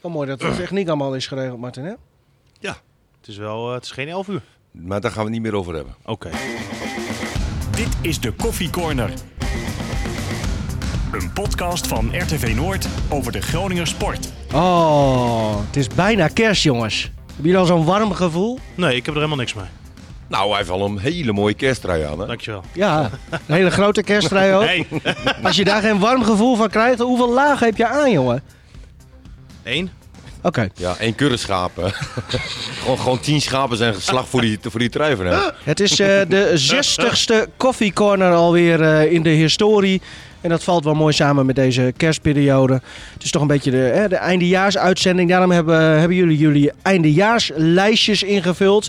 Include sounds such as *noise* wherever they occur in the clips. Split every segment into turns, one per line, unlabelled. Wel mooi dat de techniek allemaal is geregeld, Martin. Hè?
Ja, het is wel, eh, het is geen 11 uur.
Maar daar gaan we het niet meer over hebben.
Oké.
Dit is de Koffie Corner. Een podcast van RTV Noord over de Groninger sport.
Oh, het is bijna kerst, jongens. Hebben jullie al zo'n warm gevoel?
Nee, ik heb er helemaal niks mee.
Nou, hij heeft al een hele mooie kersttrui aan. Hè?
Dankjewel.
Ja, een hele grote kerstrij ook.
*laughs* Hey,
Als je daar geen warm gevoel van krijgt, hoeveel lagen heb je aan, jongen?
één.
Oké.
Ja, één kudde schapen. *laughs* gewoon, gewoon tien schapen zijn geslacht voor die, voor die trui van hem.
Het is eh, de zestigste Coffee Corner alweer eh, in de historie. En dat valt wel mooi samen met deze kerstperiode. Het is toch een beetje de, hè, de eindejaarsuitzending. Daarom hebben, hebben jullie jullie eindejaarslijstjes ingevuld.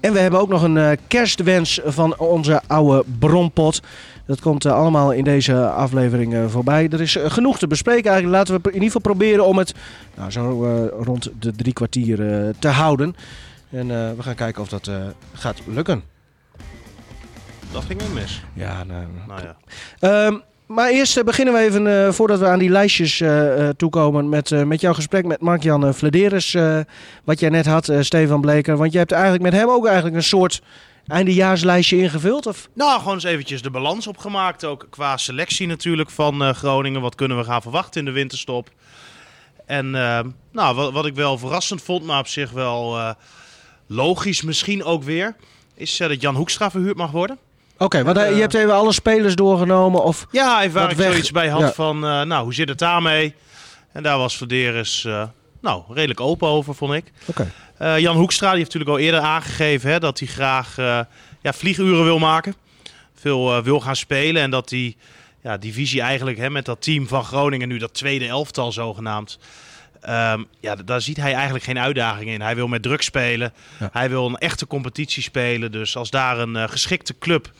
En we hebben ook nog een eh, kerstwens van onze oude bronpot. Dat komt eh, allemaal in deze aflevering eh, voorbij. Er is eh, genoeg te bespreken eigenlijk. Laten we in ieder geval proberen om het nou, zo eh, rond de drie kwartier eh, te houden. En eh, we gaan kijken of dat eh, gaat lukken.
Dat ging weer mis.
Ja, nou.
Nou ja.
Ehm, maar eerst eh, beginnen we even, eh, voordat we aan die lijstjes eh, eh, toekomen, met, eh, met jouw gesprek met Mark-Jan eh, Flederis. eh, wat jij net had, eh, Stefan Bleker. Want jij hebt eigenlijk met hem ook eigenlijk een soort eindejaarslijstje ingevuld. Of?
Nou, gewoon eens eventjes de balans opgemaakt. Ook qua selectie natuurlijk van eh, Groningen. Wat kunnen we gaan verwachten in de winterstop? En eh, nou, wat, wat ik wel verrassend vond, maar op zich wel eh, logisch misschien ook weer... is eh, dat Jan Hoekstra verhuurd mag worden.
Oké, want hij-
Eh,
je hebt even alle spelers doorgenomen. Of,
Ja, even waar
Wat
ik
weg-
zoiets bij had
ja.
van, eh, nou, hoe zit het daarmee? En daar was Verderes, eh nou, redelijk open over, vond ik.
Oké.
Eh, Jan Hoekstra die heeft natuurlijk al eerder aangegeven hè, dat hij graag eh, ja, vlieguren wil maken. Veel eh, wil gaan spelen en dat die, ja, die visie eigenlijk hè, met dat team van Groningen, nu dat tweede elftal zogenaamd... ehm, ja, d- daar ziet hij eigenlijk geen uitdaging in. Hij wil met druk spelen.
Ja.
Hij wil een echte competitie spelen. Dus als daar een eh, geschikte club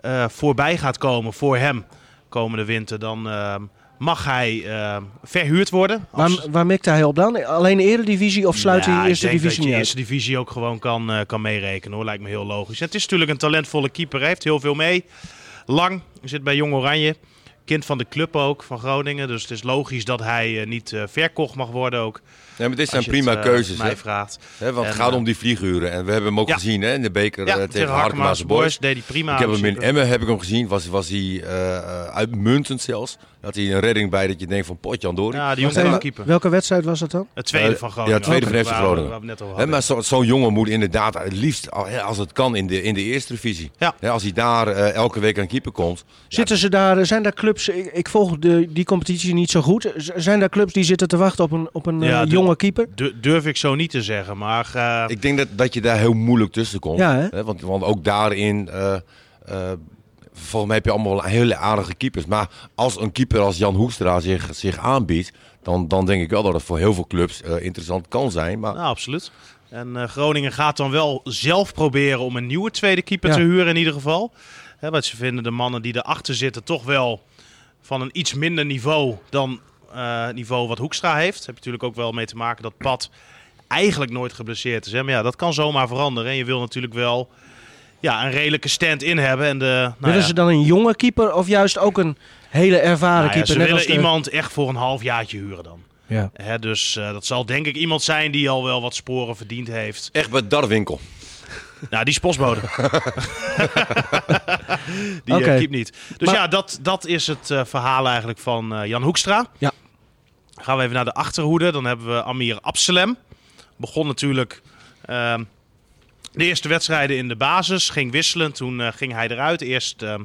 eh, voorbij gaat komen voor hem komende winter, dan ehm, mag hij ehm, verhuurd worden.
waar,
Als-
waar mikt hij op dan? Alleen de Eredivisie of sluit
Ja,
hij de Eerste
ik denk
Divisie
dat
niet
je
uit?
eerste divisie ook gewoon kan, eh, kan meerekenen hoor. Lijkt me heel logisch. Het is natuurlijk een talentvolle keeper. Hij heeft heel veel mee. Lang zit bij Jong Oranje. Kind van de club ook, van Groningen. Dus het is logisch dat hij eh, niet eh, verkocht mag worden ook.
Ja, maar dit
Als
zijn
je
prima
het, eh,
keuzes. Hè?
mij vraagt.
Hè, want het
En,
gaat
eh,
om die vlieguren. En we hebben hem ook
Ja.
gezien hè, in de beker eh,
Ja,
tegen,
tegen
Harkemaanse
Harkemaanse Boys Nou,
Boys.
deed hij prima.
Ik heb
aan
hem in
principe.
Emmen heb ik hem gezien. Was, was hij eh, eh, uitmuntend zelfs. Had hij een redding bij dat je denkt van potjan door.
Ja, die
Wacht
jongen kan
even,
keeper.
welke wedstrijd was dat dan?
Het tweede
Eh,
van
ja,
Groningen.
het tweede van
Waar
FC
we-
Groningen.
waar we het net over
Hè,
hadden.
maar zo- zo'n jongen moet inderdaad het liefst, al- hè, als het kan, in de, in de eerste divisie.
Ja.
Hè, als hij daar eh, elke week aan keeper komt.
Zitten ze daar, zijn daar clubs, ik, ik volg de, die competitie niet zo goed. Z- Zijn daar clubs die zitten te wachten op een, op een
Ja,
eh,
de-
jonge keeper?
Du- Durf ik zo niet te zeggen, maar... eh,
Ik denk dat, dat je daar heel moeilijk tussen komt.
Ja, hè?
want, want ook daarin, eh, eh, volgens mij heb je allemaal wel hele aardige keepers. Maar als een keeper als Jan Hoekstra zich, zich aanbiedt, dan, dan denk ik wel dat het voor heel veel clubs eh, interessant kan zijn. Maar
Nou, absoluut. En eh, Groningen gaat dan wel zelf proberen om een nieuwe tweede keeper
Ja.
te huren in ieder geval. Hè, want ze vinden de mannen die erachter zitten toch wel van een iets minder niveau dan eh, het niveau wat Hoekstra heeft. Heb je natuurlijk ook wel mee te maken dat Pat eigenlijk nooit geblesseerd is. Hè? Maar ja, dat kan zomaar veranderen. En je wil natuurlijk wel ja, een redelijke stand-in hebben. En de, nou
Willen
ja.
ze dan een jonge keeper of juist ook een hele ervaren
Nou ja,
keeper?
ze
net
willen
als de-
iemand echt voor een halfjaartje huren dan.
Ja.
Hè, dus eh, dat zal denk ik iemand zijn die al wel wat sporen verdiend heeft.
echt bij Darwinkel.
Nou, die is postbode. die
Oké.
eh, keept niet. Dus
Maar-
ja, dat, dat is het eh, verhaal eigenlijk van eh, Jan Hoekstra.
Ja.
Gaan we even naar de achterhoede. Dan hebben we Amir Absalem. Begon natuurlijk ehm, de eerste wedstrijden in de basis. Ging wisselen. Toen eh, ging hij eruit. Eerst ehm,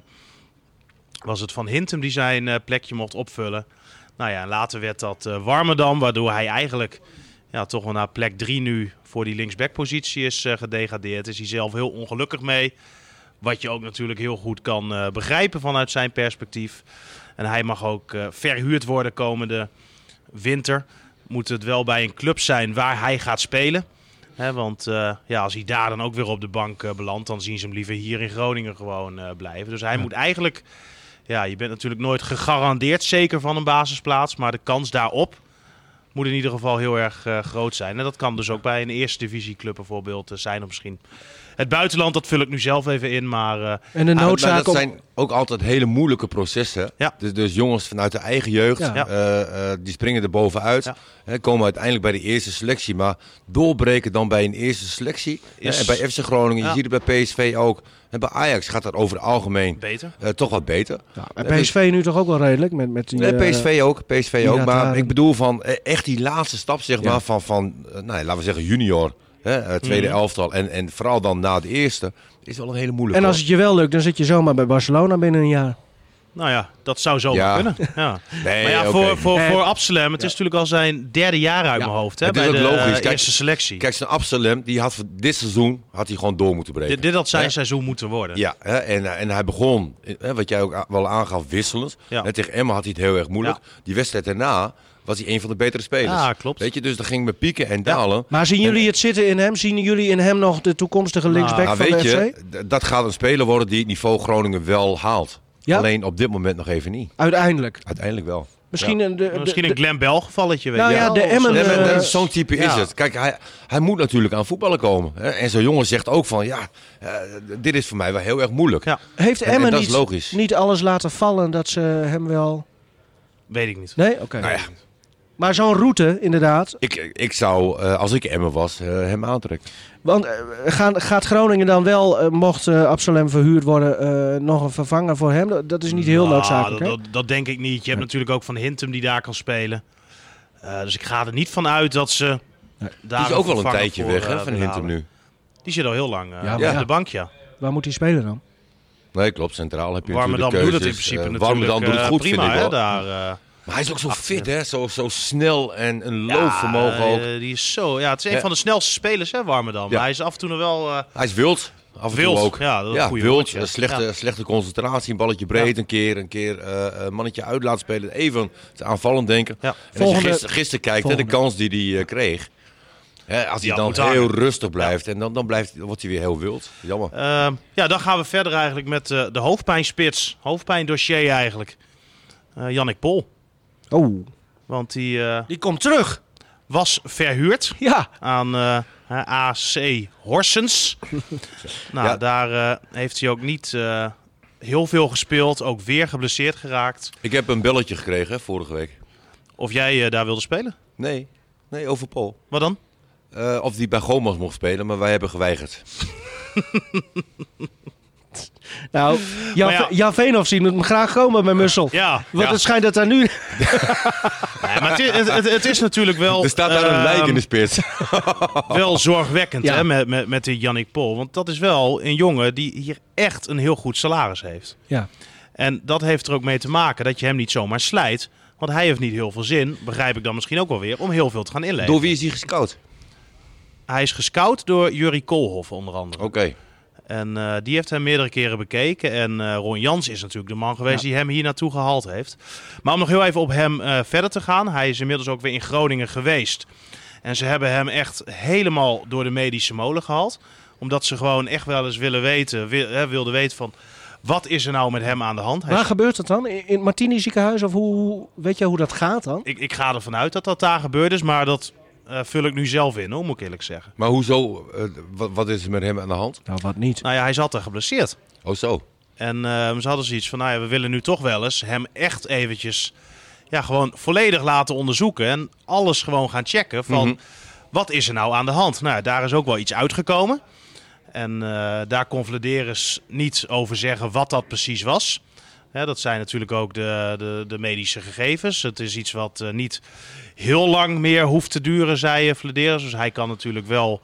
was het Van Hintem die zijn eh, plekje mocht opvullen. Nou ja, later werd dat eh Warmerdam. Waardoor hij eigenlijk ja, toch wel naar plek 3 nu voor die linksbackpositie is eh, gedegradeerd. Is hij zelf heel ongelukkig mee. Wat je ook natuurlijk heel goed kan eh, begrijpen vanuit zijn perspectief. En hij mag ook eh, verhuurd worden komende winter. Moet het wel bij een club zijn waar hij gaat spelen. Hè, want eh, ja, als hij daar dan ook weer op de bank eh, belandt, dan zien ze hem liever hier in Groningen gewoon eh, blijven. Dus hij moet eigenlijk. Ja, je bent natuurlijk nooit gegarandeerd zeker van een basisplaats. Maar de kans daarop moet in ieder geval heel erg eh, groot zijn. En dat kan dus ook bij een eerste divisieclub bijvoorbeeld eh, zijn. Of misschien Het buitenland, dat vul ik nu zelf even in. Maar eh,
En de
Ja, Nou, Ah, maar
noodzaak
dat
om...
zijn ook altijd hele moeilijke processen.
Ja.
Dus, dus jongens vanuit de eigen jeugd,
Ja.
eh, eh, die springen er bovenuit.
Ja.
Hè, komen uiteindelijk bij de eerste selectie. Maar doorbreken dan bij een eerste selectie.
Is-
Hè, en bij FC Groningen,
Ja.
je ziet het bij PSV ook. En bij Ajax gaat dat over het algemeen
beter.
eh, toch wat beter.
Ja, en PSV nu toch ook wel redelijk met, met die...
Nee,
eh,
PSV ook, PSV
die
ook. Maar
laten-
ik bedoel van eh, echt die laatste stap, zeg
Ja.
maar, van, van eh, nou, laten we zeggen junior, hè, eh, tweede
Mhm.
elftal. En, en vooral dan na de eerste, is wel een hele moeilijke.
en als het je wel lukt, dan zit je zomaar bij Barcelona binnen een jaar.
Nou ja, dat zou zo
Ja.
kunnen. Ja.
Nee,
maar ja,
oké.
voor, voor,
Eh,
voor Absalem, het is natuurlijk al zijn derde jaar uit
Ja,
mijn hoofd. Hè,
het is
bij
ook
de
logisch.
eh,
Kijk,
eerste selectie.
Kijk, zijn Absalem, die had voor dit seizoen had hij gewoon door moeten breken.
dit, dit had zijn
Ja.
seizoen moeten worden.
Ja, hè, en, eh, en hij begon, hè, wat jij ook a- wel aangaf, wisselend.
Ja.
Hè, Tegen Emma had hij het heel erg moeilijk. Die wedstrijd daarna was hij een van de betere spelers.
Ja, klopt.
Weet je, dus dat ging met pieken en dalen.
Maar zien jullie het zitten in hem? Zien jullie in hem nog de toekomstige linksback
Maar
van
Nou, weet
de
je,
FC?
d- dat gaat een speler worden die het niveau Groningen wel haalt.
Ja.
Alleen op dit moment nog even niet.
Uiteindelijk.
Uiteindelijk wel.
Misschien een... De, de-
Misschien een
de-
Glenn Bell gevalletje. weet
Nou
je
ja,
wel.
de
Of zo.
Emmen,
Nee,
eh,
maar dat- Zo'n type is
ja.
het. Kijk, hij, hij moet natuurlijk aan voetballen komen. Hè? En zo'n jongen zegt ook van, ja, eh, dit is voor mij wel heel erg moeilijk.
Ja,
heeft
En- en
Emmen
dat is
niet,
logisch.
niet alles laten vallen dat ze hem wel...
weet ik niet.
Nee? Oké.
Nou ja,
Maar zo'n route, inderdaad.
ik, ik zou, eh, als ik Emmen was, eh, hem aantrekken.
Want eh, gaan, gaat Groningen dan wel, eh, mocht eh, Absalem verhuurd worden, eh, nog een vervanger voor hem? Dat, dat is niet heel
Nou,
noodzakelijk, hè?
Dat, dat, dat denk ik niet. Je hebt natuurlijk ook Van Hintem die daar kan spelen. Eh, dus ik ga er niet van uit dat ze daar
Die is ook wel een
vervanger
tijdje
voor,
weg
eh,
hè, van Hintem
binnenhalen.
nu.
Die zit al heel lang eh,
Ja,
op
maar
ja.
de bank, ja.
Waar moet hij spelen dan?
Nee, klopt. Centraal heb je
Warmerdam
natuurlijk
doet het in
keuzes.
principe
Eh,
natuurlijk
Warmerdam doet het
eh,
goed,
prima,
vind ik
hè,
wel.
daar. eh.
Maar hij is ook zo
Achter.
fit, hè? Zo, zo snel en een
Ja,
loopvermogen ook.
eh, die is zo, ja, het is een
Ja.
van de snelste spelers, hè, Warmerdam.
Ja.
Maar Hij is af en toe nog wel... eh,
Hij is wild. Af en
Wild,
toe ook.
ja, dat is een goede
wild.
woordje.
eh, Slechte,
Ja.
slechte concentratie, een balletje breed een keer, een keer eh, een mannetje uit laten spelen. Even te aanvallend denken.
Ja.
En als je
Volgende-
gisteren, gisteren kijkt, hè, de
Volgende.
kans die hij eh, kreeg. Hè, als hij
Ja,
dan
moet
heel
hangen.
rustig blijft, en dan, dan, blijft, dan wordt hij weer heel wild. Jammer.
Ehm, ja, dan gaan we verder eigenlijk met eh, de hoofdpijnspits. Hoofdpijndossier eigenlijk. Eh Jannik Pol.
Oh,
Want die eh,
die komt terug.
was verhuurd
Ja.
aan eh, eh, AC
*laughs*
Horsens. nou,
Ja.
daar eh, heeft hij ook niet eh, heel veel gespeeld. Ook weer geblesseerd geraakt.
Ik heb een belletje gekregen hè, vorige week.
Of jij eh, daar wilde spelen?
Nee, nee over Paul.
Wat dan?
Eh, of die bij Gomas mocht spelen, maar wij hebben geweigerd.
Nou, Jan,
*laughs* Maar ja.
Jan Veenhoff ziet hem graag komen bij Mussel.
Ja,
Want
ja.
het schijnt dat daar nu...
Nee, maar het, is, het, het- het is natuurlijk wel...
Er staat daar een
ehm,
lijk in de
*laughs*
spits.
wel zorgwekkend
Ja.
hè, met, met, met die Yannick Pol. Want dat is wel een jongen die hier echt een heel goed salaris
*laughs*
heeft.
Ja.
En dat heeft er ook mee te maken dat je hem niet zomaar slijt. Want hij heeft niet heel veel zin, begrijp ik dan misschien ook wel weer, om heel veel te gaan inleveren.
Door wie is hij gescout?
Hij is gescout door Jurie Koolhoff onder andere.
Oké.
En eh, die heeft hem meerdere keren bekeken. En eh, Ron Jans is natuurlijk de man geweest die hem hier naartoe gehaald heeft. Maar om nog heel even op hem eh, verder te gaan. Hij is inmiddels ook weer in Groningen geweest. En ze hebben hem echt helemaal door de medische molen gehaald. Omdat ze gewoon echt wel eens willen weten, wi- hè, wilden weten van... Wat is er nou met hem aan de hand? Hij
Waar
is-
gebeurt dat dan? In in het Martini ziekenhuis? Of hoe, weet je hoe dat gaat dan?
ik, ik ga ervan uit dat dat daar gebeurd is, maar dat eh, vul ik nu zelf in, hoor, moet ik eerlijk zeggen.
Maar hoezo? eh, wat, wat is er met hem aan de hand?
Nou, wat niet.
Nou ja, hij zat er geblesseerd.
Oh zo.
En eh, ze hadden zoiets van, nou ja, we willen nu toch wel eens hem echt eventjes ja, gewoon volledig laten onderzoeken. En alles gewoon gaan checken van, wat is er nou aan de hand? Nou ja, daar is ook wel iets uitgekomen. En eh, daar kon Vladeris niet over zeggen wat dat precies was. Hè, dat zijn natuurlijk ook de, de, de medische gegevens. Het is iets wat eh, niet heel lang meer hoeft te duren, zei eh, Vladeris. Dus hij kan natuurlijk wel,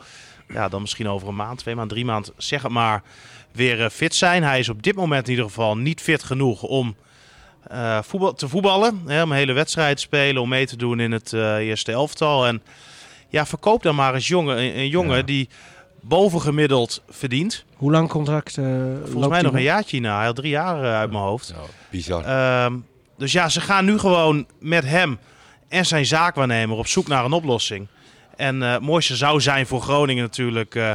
ja, dan misschien over een maand, twee maanden, drie maanden, zeg het maar, weer eh, fit zijn. Hij is op dit moment in ieder geval niet fit genoeg om eh, voetbal, te voetballen. Hè, om een hele wedstrijd te spelen, om mee te doen in het eh, eerste elftal. En ja, verkoop dan maar eens jongen, een, een jongen die bovengemiddeld verdient.
Hoe lang contract eh, loopt
Volgens mij
die
nog
man?
een jaartje na. Hij had drie jaar eh, uit mijn hoofd.
Nou, bizar.
Ehm, dus ja, ze gaan nu gewoon met hem en zijn zaakwaarnemer op zoek naar een oplossing. En eh, het mooiste zou zijn voor Groningen natuurlijk eh,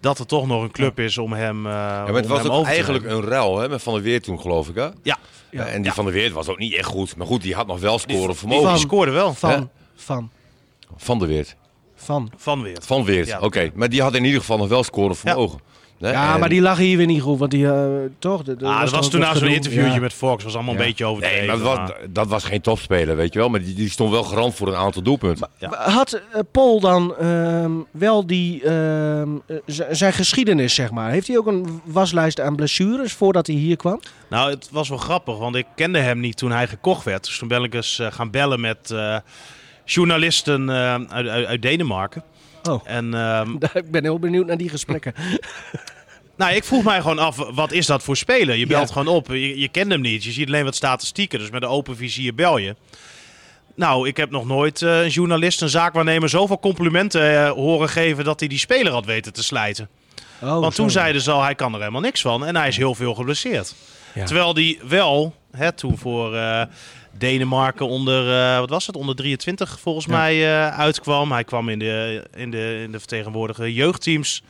dat er toch nog een club is om hem, eh
Ja, maar het
om
was
hem
ook
over te
eigenlijk
nemen.
een ruil hè, met Van der Weer toen, geloof ik. Hè?
Ja,
Ja.
En die
Ja.
Van der Weer was ook niet echt goed. Maar goed, die had nog wel scoren
die,
vermogen.
die
Van-
scoorde wel. Van,
Van, van,
Van der Weer.
van.
van weer.
Van Weert,
Ja.
oké. Maar die had in ieder geval nog wel scoren vermogen. Hè,
Ja,
en-
maar die lag hier weer niet goed, want die, eh, toch? Dat
Ah, dat was toen na
nou
zo'n interviewtje met Fox. was allemaal een
Ja.
beetje overdreven. Ah.
Nee, maar dat was,
maar-
dat was geen topspeler, weet je wel. Maar die, die stond wel garant voor een aantal doelpunten.
Had eh, Paul dan ehm, wel die, ehm, eh, z- zijn geschiedenis, zeg maar? Heeft hij ook een waslijst aan blessures voordat hij hier kwam?
Nou, het was wel grappig, want ik kende hem niet toen hij gekocht werd. Dus toen ben ik eens eh, gaan bellen met eh, journalisten eh, uit, uit, uit Denemarken.
Oh. *laughs*
En ehm,
Ik ben heel benieuwd naar die gesprekken.
nou, ik vroeg mij gewoon af, wat is dat voor speler? Je belt
Ja.
gewoon op, je, je kent hem niet. Je ziet alleen wat statistieken, dus met een open vizier bel je. Nou, ik heb nog nooit eh, een journalist, een zaakwaarnemer, zoveel complimenten eh, horen geven dat hij die speler had weten te slijten.
*laughs* Oh,
Want toen
zo.
zeiden ze al, hij kan er helemaal niks van. En hij is heel veel geblesseerd.
Ja.
Terwijl die wel, hè, toen voor eh, Denemarken onder, eh, wat was het, onder 23 volgens mij eh, uitkwam. Hij kwam in de, in de, in de vertegenwoordige jeugdteams.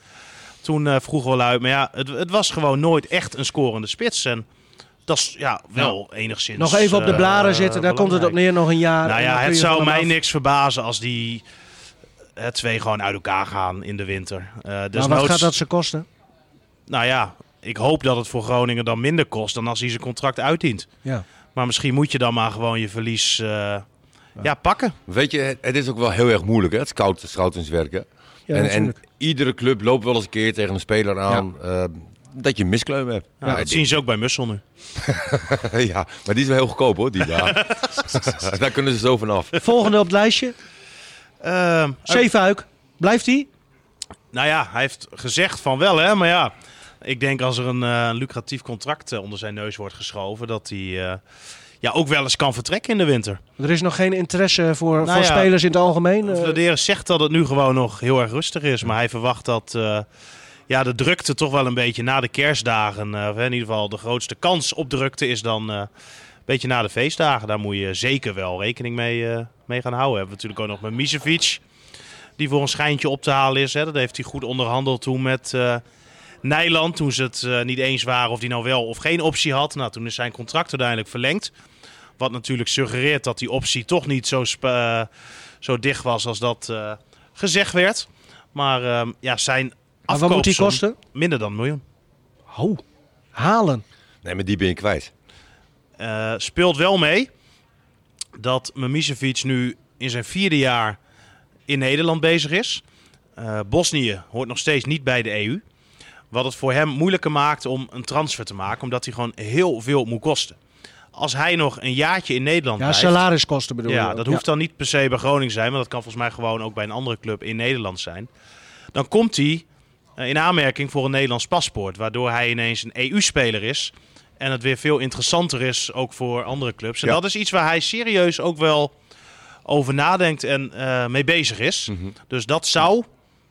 Toen eh vroeg wel uit. Maar ja, het, het was gewoon nooit echt een scorende spits. En dat is ja, wel enigszins...
Nog even op de
eh,
blaren zitten, daar komt het op
belangrijk.
neer, nog een jaar.
Nou
en dan
ja,
kun
het
je
zou
van hem
mij
af.
niks verbazen als die eh, twee gewoon uit elkaar gaan in de winter. Eh
Maar
desnoods-
Nou, wat gaat dat ze kosten?
nou ja, ik hoop dat het voor Groningen dan minder kost dan als hij zijn contract uitdient.
Ja.
Maar misschien moet je dan maar gewoon je verlies eh, ja. pakken.
Weet je, het, het is ook wel heel erg moeilijk, hè, het scout, scoutingswerken.
Ja,
en, en
natuurlijk.
iedere club loopt wel eens een keer tegen een speler aan eh, dat je een miskleum hebt.
Ja, Nou, dat zien ze ook bij Mussel nu.
*laughs* ja, maar die is wel heel goedkoop hoor,
*laughs*
die daar. *laughs* daar kunnen ze zo vanaf.
*laughs* Volgende op het lijstje,
Ehm, uit-
Zeefuik. Blijft hij?
nou ja, hij heeft gezegd van wel, hè. Maar ja, ik denk als er een eh, lucratief contract eh, onder zijn neus wordt geschoven... dat hij eh, ja, ook wel eens kan vertrekken in de winter.
Er is nog geen interesse voor,
Nou
voor
ja.
spelers in het algemeen. eh.
Vladeres zegt dat het nu gewoon nog heel erg rustig is. Maar hij verwacht dat eh, ja, de drukte toch wel een beetje na de kerstdagen. eh, of in ieder geval de grootste kans op drukte is dan eh, een beetje na de feestdagen. Daar moet je zeker wel rekening mee, eh, mee gaan houden. Hebben we natuurlijk ook nog met Misevic. Die voor een schijntje op te halen is. Hè. Dat heeft hij goed onderhandeld toen met eh, Nijland. Toen ze het eh, niet eens waren of hij nou wel of geen optie had. Nou, toen is zijn contract uiteindelijk verlengd. Wat natuurlijk suggereert dat die optie toch niet zo sp- eh, zo dicht was als dat eh, gezegd werd. Maar ehm, ja, zijn
Maar wat moet die
afkoopsom
kosten?
Minder dan een miljoen.
Ho, halen.
Nee, maar die ben je kwijt.
Eh, speelt wel mee dat Mimicevic nu in zijn vierde jaar in Nederland bezig is. Eh, Bosnië hoort nog steeds niet bij de EU. Wat het voor hem moeilijker maakt om een transfer te maken, omdat hij gewoon heel veel moet kosten. Als hij nog een jaartje in Nederland
Ja,
blijft,
salariskosten bedoel je.
Ja, dat hoeft dan niet per se bij Groningen te zijn, maar dat kan volgens mij gewoon ook bij een andere club in Nederland zijn. Dan komt hij eh, in aanmerking voor een Nederlands paspoort, waardoor hij ineens een EU-speler is. En het weer veel interessanter is ook voor andere clubs. En
Ja.
dat is iets waar hij serieus ook wel over nadenkt en eh, mee bezig is. Dus dat zou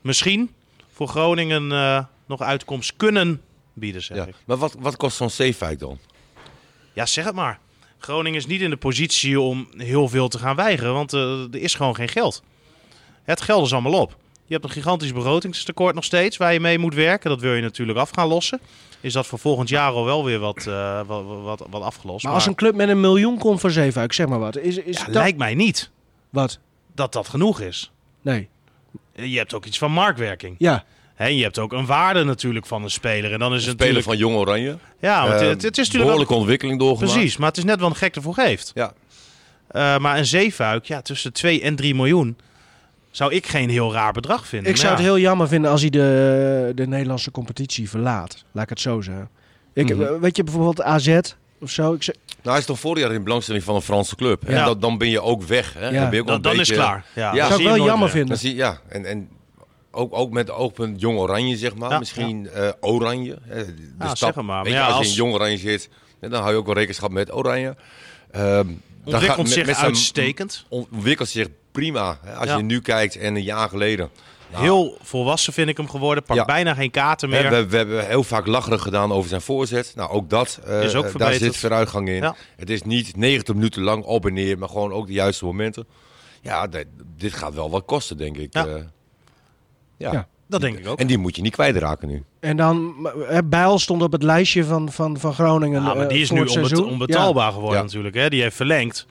misschien voor Groningen eh, nog uitkomst kunnen bieden, zeg
Ja.
ik.
Maar wat, wat kost zo'n zeefuik dan?
Ja, zeg het maar. Groningen is niet in de positie om heel veel te gaan weigeren, want eh, er is gewoon geen geld. Het geld is allemaal op. Je hebt een gigantisch begrotingstekort nog steeds waar je mee moet werken. Dat wil je natuurlijk af gaan lossen. Is dat voor volgend jaar al wel weer wat, eh, wat, wat, wat afgelost?
Maar als een club met een miljoen komt voor Zeefuik, zeg maar wat. Is, is
Ja,
dat...
lijkt mij niet
Wat?
dat dat genoeg is.
Nee.
Je hebt ook iets van marktwerking.
Ja.
Hè, je hebt ook een waarde natuurlijk van een speler. En dan is het
Spelen
natuurlijk...
van Jong Oranje.
Ja, Ah, want
Eh,
het, het is natuurlijk...
behoorlijke ontwikkeling doorgemaakt.
Precies, maar het is net wat een gek ervoor geeft.
Ja.
Eh, maar een zeefuik, ja, tussen 2 en 3 miljoen zou ik geen heel raar bedrag vinden.
Ik
Maar
zou
Nou ja,
het heel jammer vinden als hij de, de Nederlandse competitie verlaat. Laat ik het zo zeggen. Ik,
Mhm.
eh, Weet je, bijvoorbeeld AZ of zo. Ik, zeg-
Nou, hij is toch vorig jaar in belangstelling van een Franse club. En
Ja.
dat, dan ben je ook weg. Hè?
Ja.
Dan, ben je ook
dan,
wel een
dan is
beetje-
het klaar. Ja,
Ja.
dan
zou
zie
ik
je
wel
nooit
jammer
meer.
vinden.
Dan zie je- ja, en, en ook, ook met open jong oranje, zeg maar.
Ja.
Misschien eh, oranje. hè, De
zeg
stap.
het maar. Maar
Weet je,
ja,
als,
als-
je in jong oranje zit, hè, dan hou je ook wel rekenschap met oranje. Ehm, dan gaat-
Ontwikkelt
met-
zich
met zijn-
uitstekend.
Ontwikkelt zich prima. Hè? Als
Ja.
je nu kijkt en een jaar geleden. Nou,
Heel volwassen vind ik hem geworden. Pak
Ja.
bijna geen kaarten
hè,
meer.
we, we hebben heel vaak lacherig gedaan over zijn voorzet. Nou, ook dat, eh,
Is ook
daar
verbeterd.
zit vooruitgang in.
Ja.
Het is niet 90 minuten lang op en neer, maar gewoon ook de juiste momenten. Ja, dit- dit gaat wel wat kosten, denk ik.
Ja.
Eh, ja.
Ja.
dat denk ik ook.
En die moet je niet kwijtraken nu.
En dan, eh, Bijl stond op het lijstje van, van, van Groningen.
Ja, maar
eh,
die is
voor
nu
het
onbet-
seizoen.
onbetaalbaar geworden
Ja.
natuurlijk. Hè? Die heeft verlengd.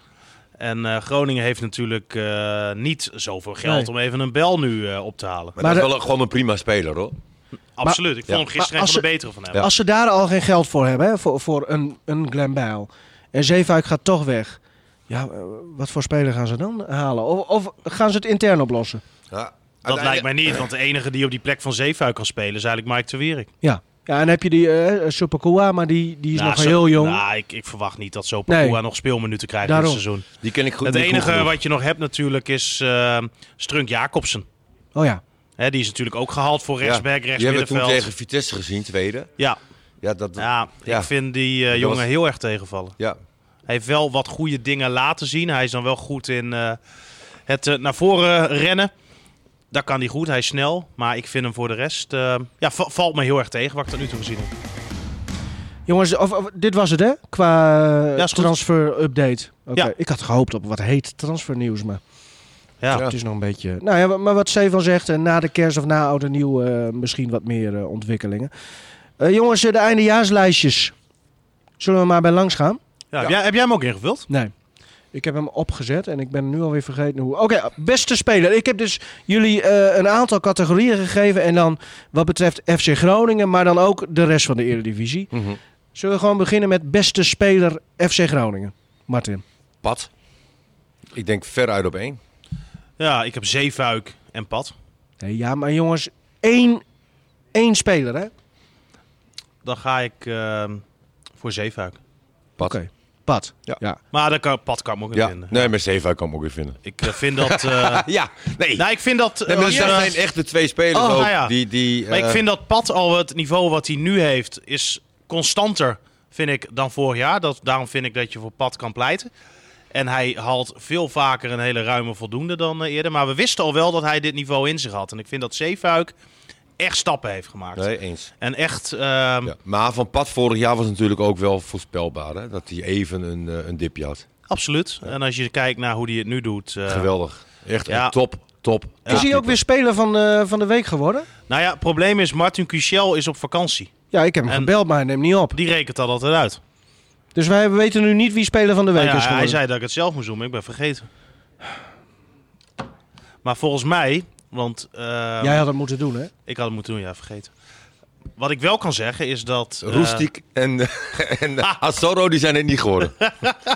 En eh, Groningen heeft natuurlijk eh, niet zoveel geld
Nee.
om even een bel nu eh, op te halen.
Maar,
Maar
dat
de-
is wel een- gewoon een prima speler hoor.
Ja.
Absoluut. Ik vond
Ja.
hem gisteren
Maar
een
als
van de betere van hem.
Ja.
Als ze daar al geen geld voor hebben, hè, voor, voor een, een Glenn Bijl. En Zeefuik gaat toch weg. Ja, eh, wat voor speler gaan ze dan halen? Of, of gaan ze het intern oplossen?
Ja,
Dat lijkt
uiteindelijk-
mij niet, want de enige die op die plek van Zeefuik kan spelen is eigenlijk Mike Terwierik.
Ja. Ja, en dan heb je die eh Supercoa, maar die, die is nog
Nou, zo-
heel jong.
Nou, ik, ik verwacht niet dat Sopakua
Nee.
nog speelminuten krijgt
Daarom.
dit seizoen.
Die ken ik goed.
het
niet goed
enige
genoeg.
wat je nog hebt natuurlijk is eh, Strunk Jacobsen.
Oh ja.
Hè, die is natuurlijk ook gehaald voor
Ja,
rechtsback,
Die hebben we toen
rechtsmiddenveld.
tegen Vitesse gezien, tweede.
Ja,
Ja, dat,
ja,
Ja.
ik vind die eh,
Dat
jongen
was-
heel erg tegenvallen.
ja.
Hij heeft wel wat goede dingen laten zien. Hij is dan wel goed in eh, het eh, naar voren rennen. Dat kan hij goed, hij is snel. Maar ik vind hem voor de rest... eh, ja, va- valt me heel erg tegen wat ik tot nu toe gezien heb.
Jongens, of, of- dit was het hè? Qua eh,
Ja, is goed.
transfer-update. Oké.
Ja.
Ik had gehoopt op wat heet transfernieuws, maar
Ja.
Ja.
het is nog een beetje... Nou ja, maar wat Stefan zegt, eh, na de kerst of na oud en nieuw eh, misschien wat meer eh, ontwikkelingen. Eh, jongens, eh, de eindejaarslijstjes. Zullen we maar bij langs gaan?
Ja, Heb, jij, heb jij hem ook ingevuld?
Nee. Ik heb hem opgezet en ik ben nu alweer vergeten hoe. Oké, beste speler. Ik heb dus jullie eh, een aantal categorieën gegeven. En dan wat betreft FC Groningen, maar dan ook de rest van de Eredivisie.
Mhm.
Zullen we gewoon beginnen met beste speler FC Groningen? Martin.
Pat. Ik denk veruit op één.
Ja, ik heb Zeefuik en Pat.
Nee, ja, maar jongens, één, één speler, hè?
Dan ga ik ehm, voor Zeefuik.
Pat.
Pat.
Ja.
Maar dat kan, Pat kan ik me ook in
Ja.
vinden.
Nee, maar Zeefuik kan ik hem ook weer vinden.
Ik eh, vind dat...
*laughs*
eh
Ja, nee.
nou, ik vind dat...
Nee, maar dat
eh,
zijn echt de twee spelers
Oh,
ook.
ja, ja.
Die, die,
Maar ik
eh,
vind dat Pat al het niveau wat hij nu heeft, is constanter, vind ik, dan vorig jaar. Dat, daarom vind ik dat je voor Pat kan pleiten. En hij haalt veel vaker een hele ruime voldoende dan eh, eerder. Maar we wisten al wel dat hij dit niveau in zich had. En ik vind dat Zeefuik echt stappen heeft gemaakt.
Nee, eens.
En echt... ehm,
Ja. Maar van Pat vorig jaar was natuurlijk ook wel voorspelbaar. Hè? Dat hij even een, eh, een dipje had.
Absoluut. En als je kijkt naar hoe hij het nu doet. eh,
Geweldig. Echt
Ja.
een top, top.
Ja.
Is hij ook weer speler van, eh, van de week geworden?
Nou ja, het probleem is, Martin Cuchel is op vakantie.
Ja, ik heb hem
En-
gebeld, maar hij neemt niet op.
Die rekent dat altijd uit.
Dus wij weten nu niet wie speler van de week
Nou ja,
is geworden.
hij zei dat ik het zelf moest doen, maar ik ben vergeten. Maar volgens mij, want eh,
Jij had het moeten doen, hè?
ik had het moeten doen, ja, vergeten. Wat ik wel kan zeggen is dat... eh,
Roestiek en, *laughs* en Asoro die zijn het niet *laughs* geworden.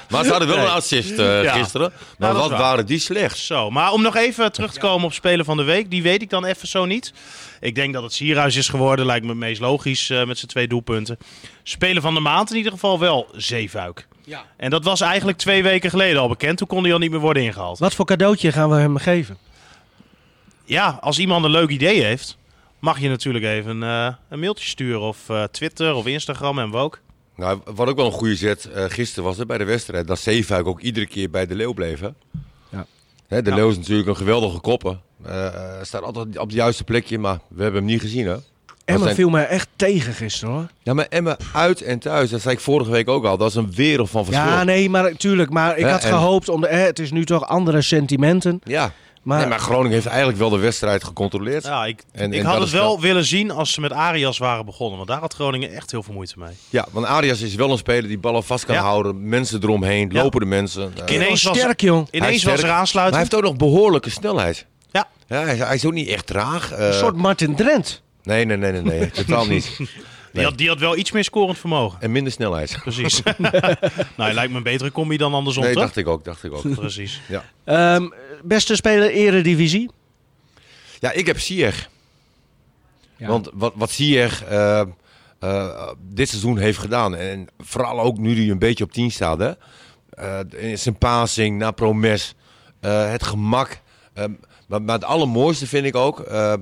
maar ze hadden wel
Nee.
een assist eh,
Ja.
gisteren.
Nou,
Maar
dat
wat
is waar.
waren die slecht?
zo, maar om nog even terug te komen op Spelen van de Week, die weet ik dan even zo niet. Ik denk dat het Sierhuis is geworden, lijkt me het meest logisch eh, met zijn twee doelpunten. Spelen van de Maand in ieder geval wel Zeefuik.
Ja.
En dat was eigenlijk twee weken geleden al bekend, toen kon hij al niet meer worden ingehaald.
Wat voor cadeautje gaan we hem geven?
Ja, als iemand een leuk idee heeft, mag je natuurlijk even eh, een mailtje sturen. Of eh, Twitter of Instagram en we ook.
Nou, wat ook wel een goede zet eh, gisteren was hè, bij de wedstrijd. Dat Zeefuik ook iedere keer bij de Leeuw bleef. Hè?
Ja.
Hè, de
Ja.
Leeuw is natuurlijk een geweldige kopper. Eh, eh, staat altijd op het juiste plekje, maar we hebben hem niet gezien. Hè?
Emma
zijn-
viel mij echt tegen gisteren hoor.
Ja, maar Emmen uit en thuis, dat zei ik vorige week ook al. Dat is een wereld van verschil.
Ja, nee, maar tuurlijk. Maar ik
Ja,
had
en-
gehoopt om. De, eh, het is nu toch andere sentimenten.
Ja.
Maar,
Nee, maar Groningen heeft eigenlijk wel de wedstrijd gecontroleerd.
Ja, ik,
En-
ik
en
had
dat
het
is
wel
wel-
willen zien als ze met Arias waren begonnen. Want daar had Groningen echt heel veel moeite mee.
Ja, want Arias is wel een speler die ballen vast kan
Ja.
houden. Mensen eromheen,
Ja.
lopende mensen. Eh,
Ineens
ineens
was-
sterk, jong.
Hij
Ineens
is
was er
sterk, maar hij
aansluiting.
heeft ook nog behoorlijke snelheid.
Ja.
Ja, hij, is, hij is ook niet echt traag. eh,
Een soort Martin Drent.
Nee, nee, nee, nee,
*laughs*
nee. totaal niet.
Die, had, die had wel iets meer scorend vermogen.
En minder snelheid. *laughs*
Precies. nou, hij lijkt me een betere combi dan andersom,
Nee,
toch?
dacht ik ook, dacht ik ook.
Precies.
Ehm, beste speler Eredivisie.
Ja, ik heb Sieg.
Ja.
Want wat, wat Sieg eh, eh, dit seizoen heeft gedaan, en vooral ook nu hij een beetje op 10 staat, hè, Eh, zijn passing naar Promes, eh, het gemak. eh, maar, maar het allermooiste vind ik ook eh, eh,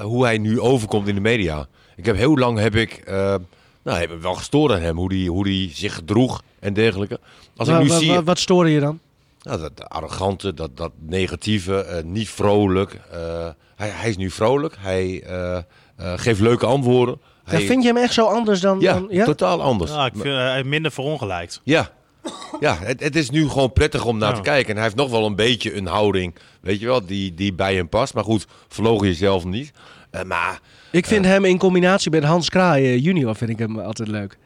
hoe hij nu overkomt in de media. Ik heb heel lang heb ik, eh, nou, heb ik wel gestoord aan hem, hoe hij hoe die zich gedroeg en dergelijke. Als ik
Wa-
nu
wa-
zie.
wa- wat stoorde je dan?
Nou, dat arrogante, dat, dat negatieve, eh, niet vrolijk. Eh, hij, hij is nu vrolijk. Hij eh, eh, geeft leuke antwoorden. Hij,
Ja, vind je hem echt zo anders dan.
ja,
dan- ja?
totaal anders.
Ja, ik vind, eh, hij minder verongelijkt.
Ja, ja het, het is nu gewoon prettig om naar
Ja.
te kijken. En hij heeft nog wel een beetje een houding, weet je wel, die, die bij hem past. Maar goed, verlogen jezelf niet. Eh, maar
Ik vind hem in combinatie met Hans Kraaien junior vind ik hem altijd leuk.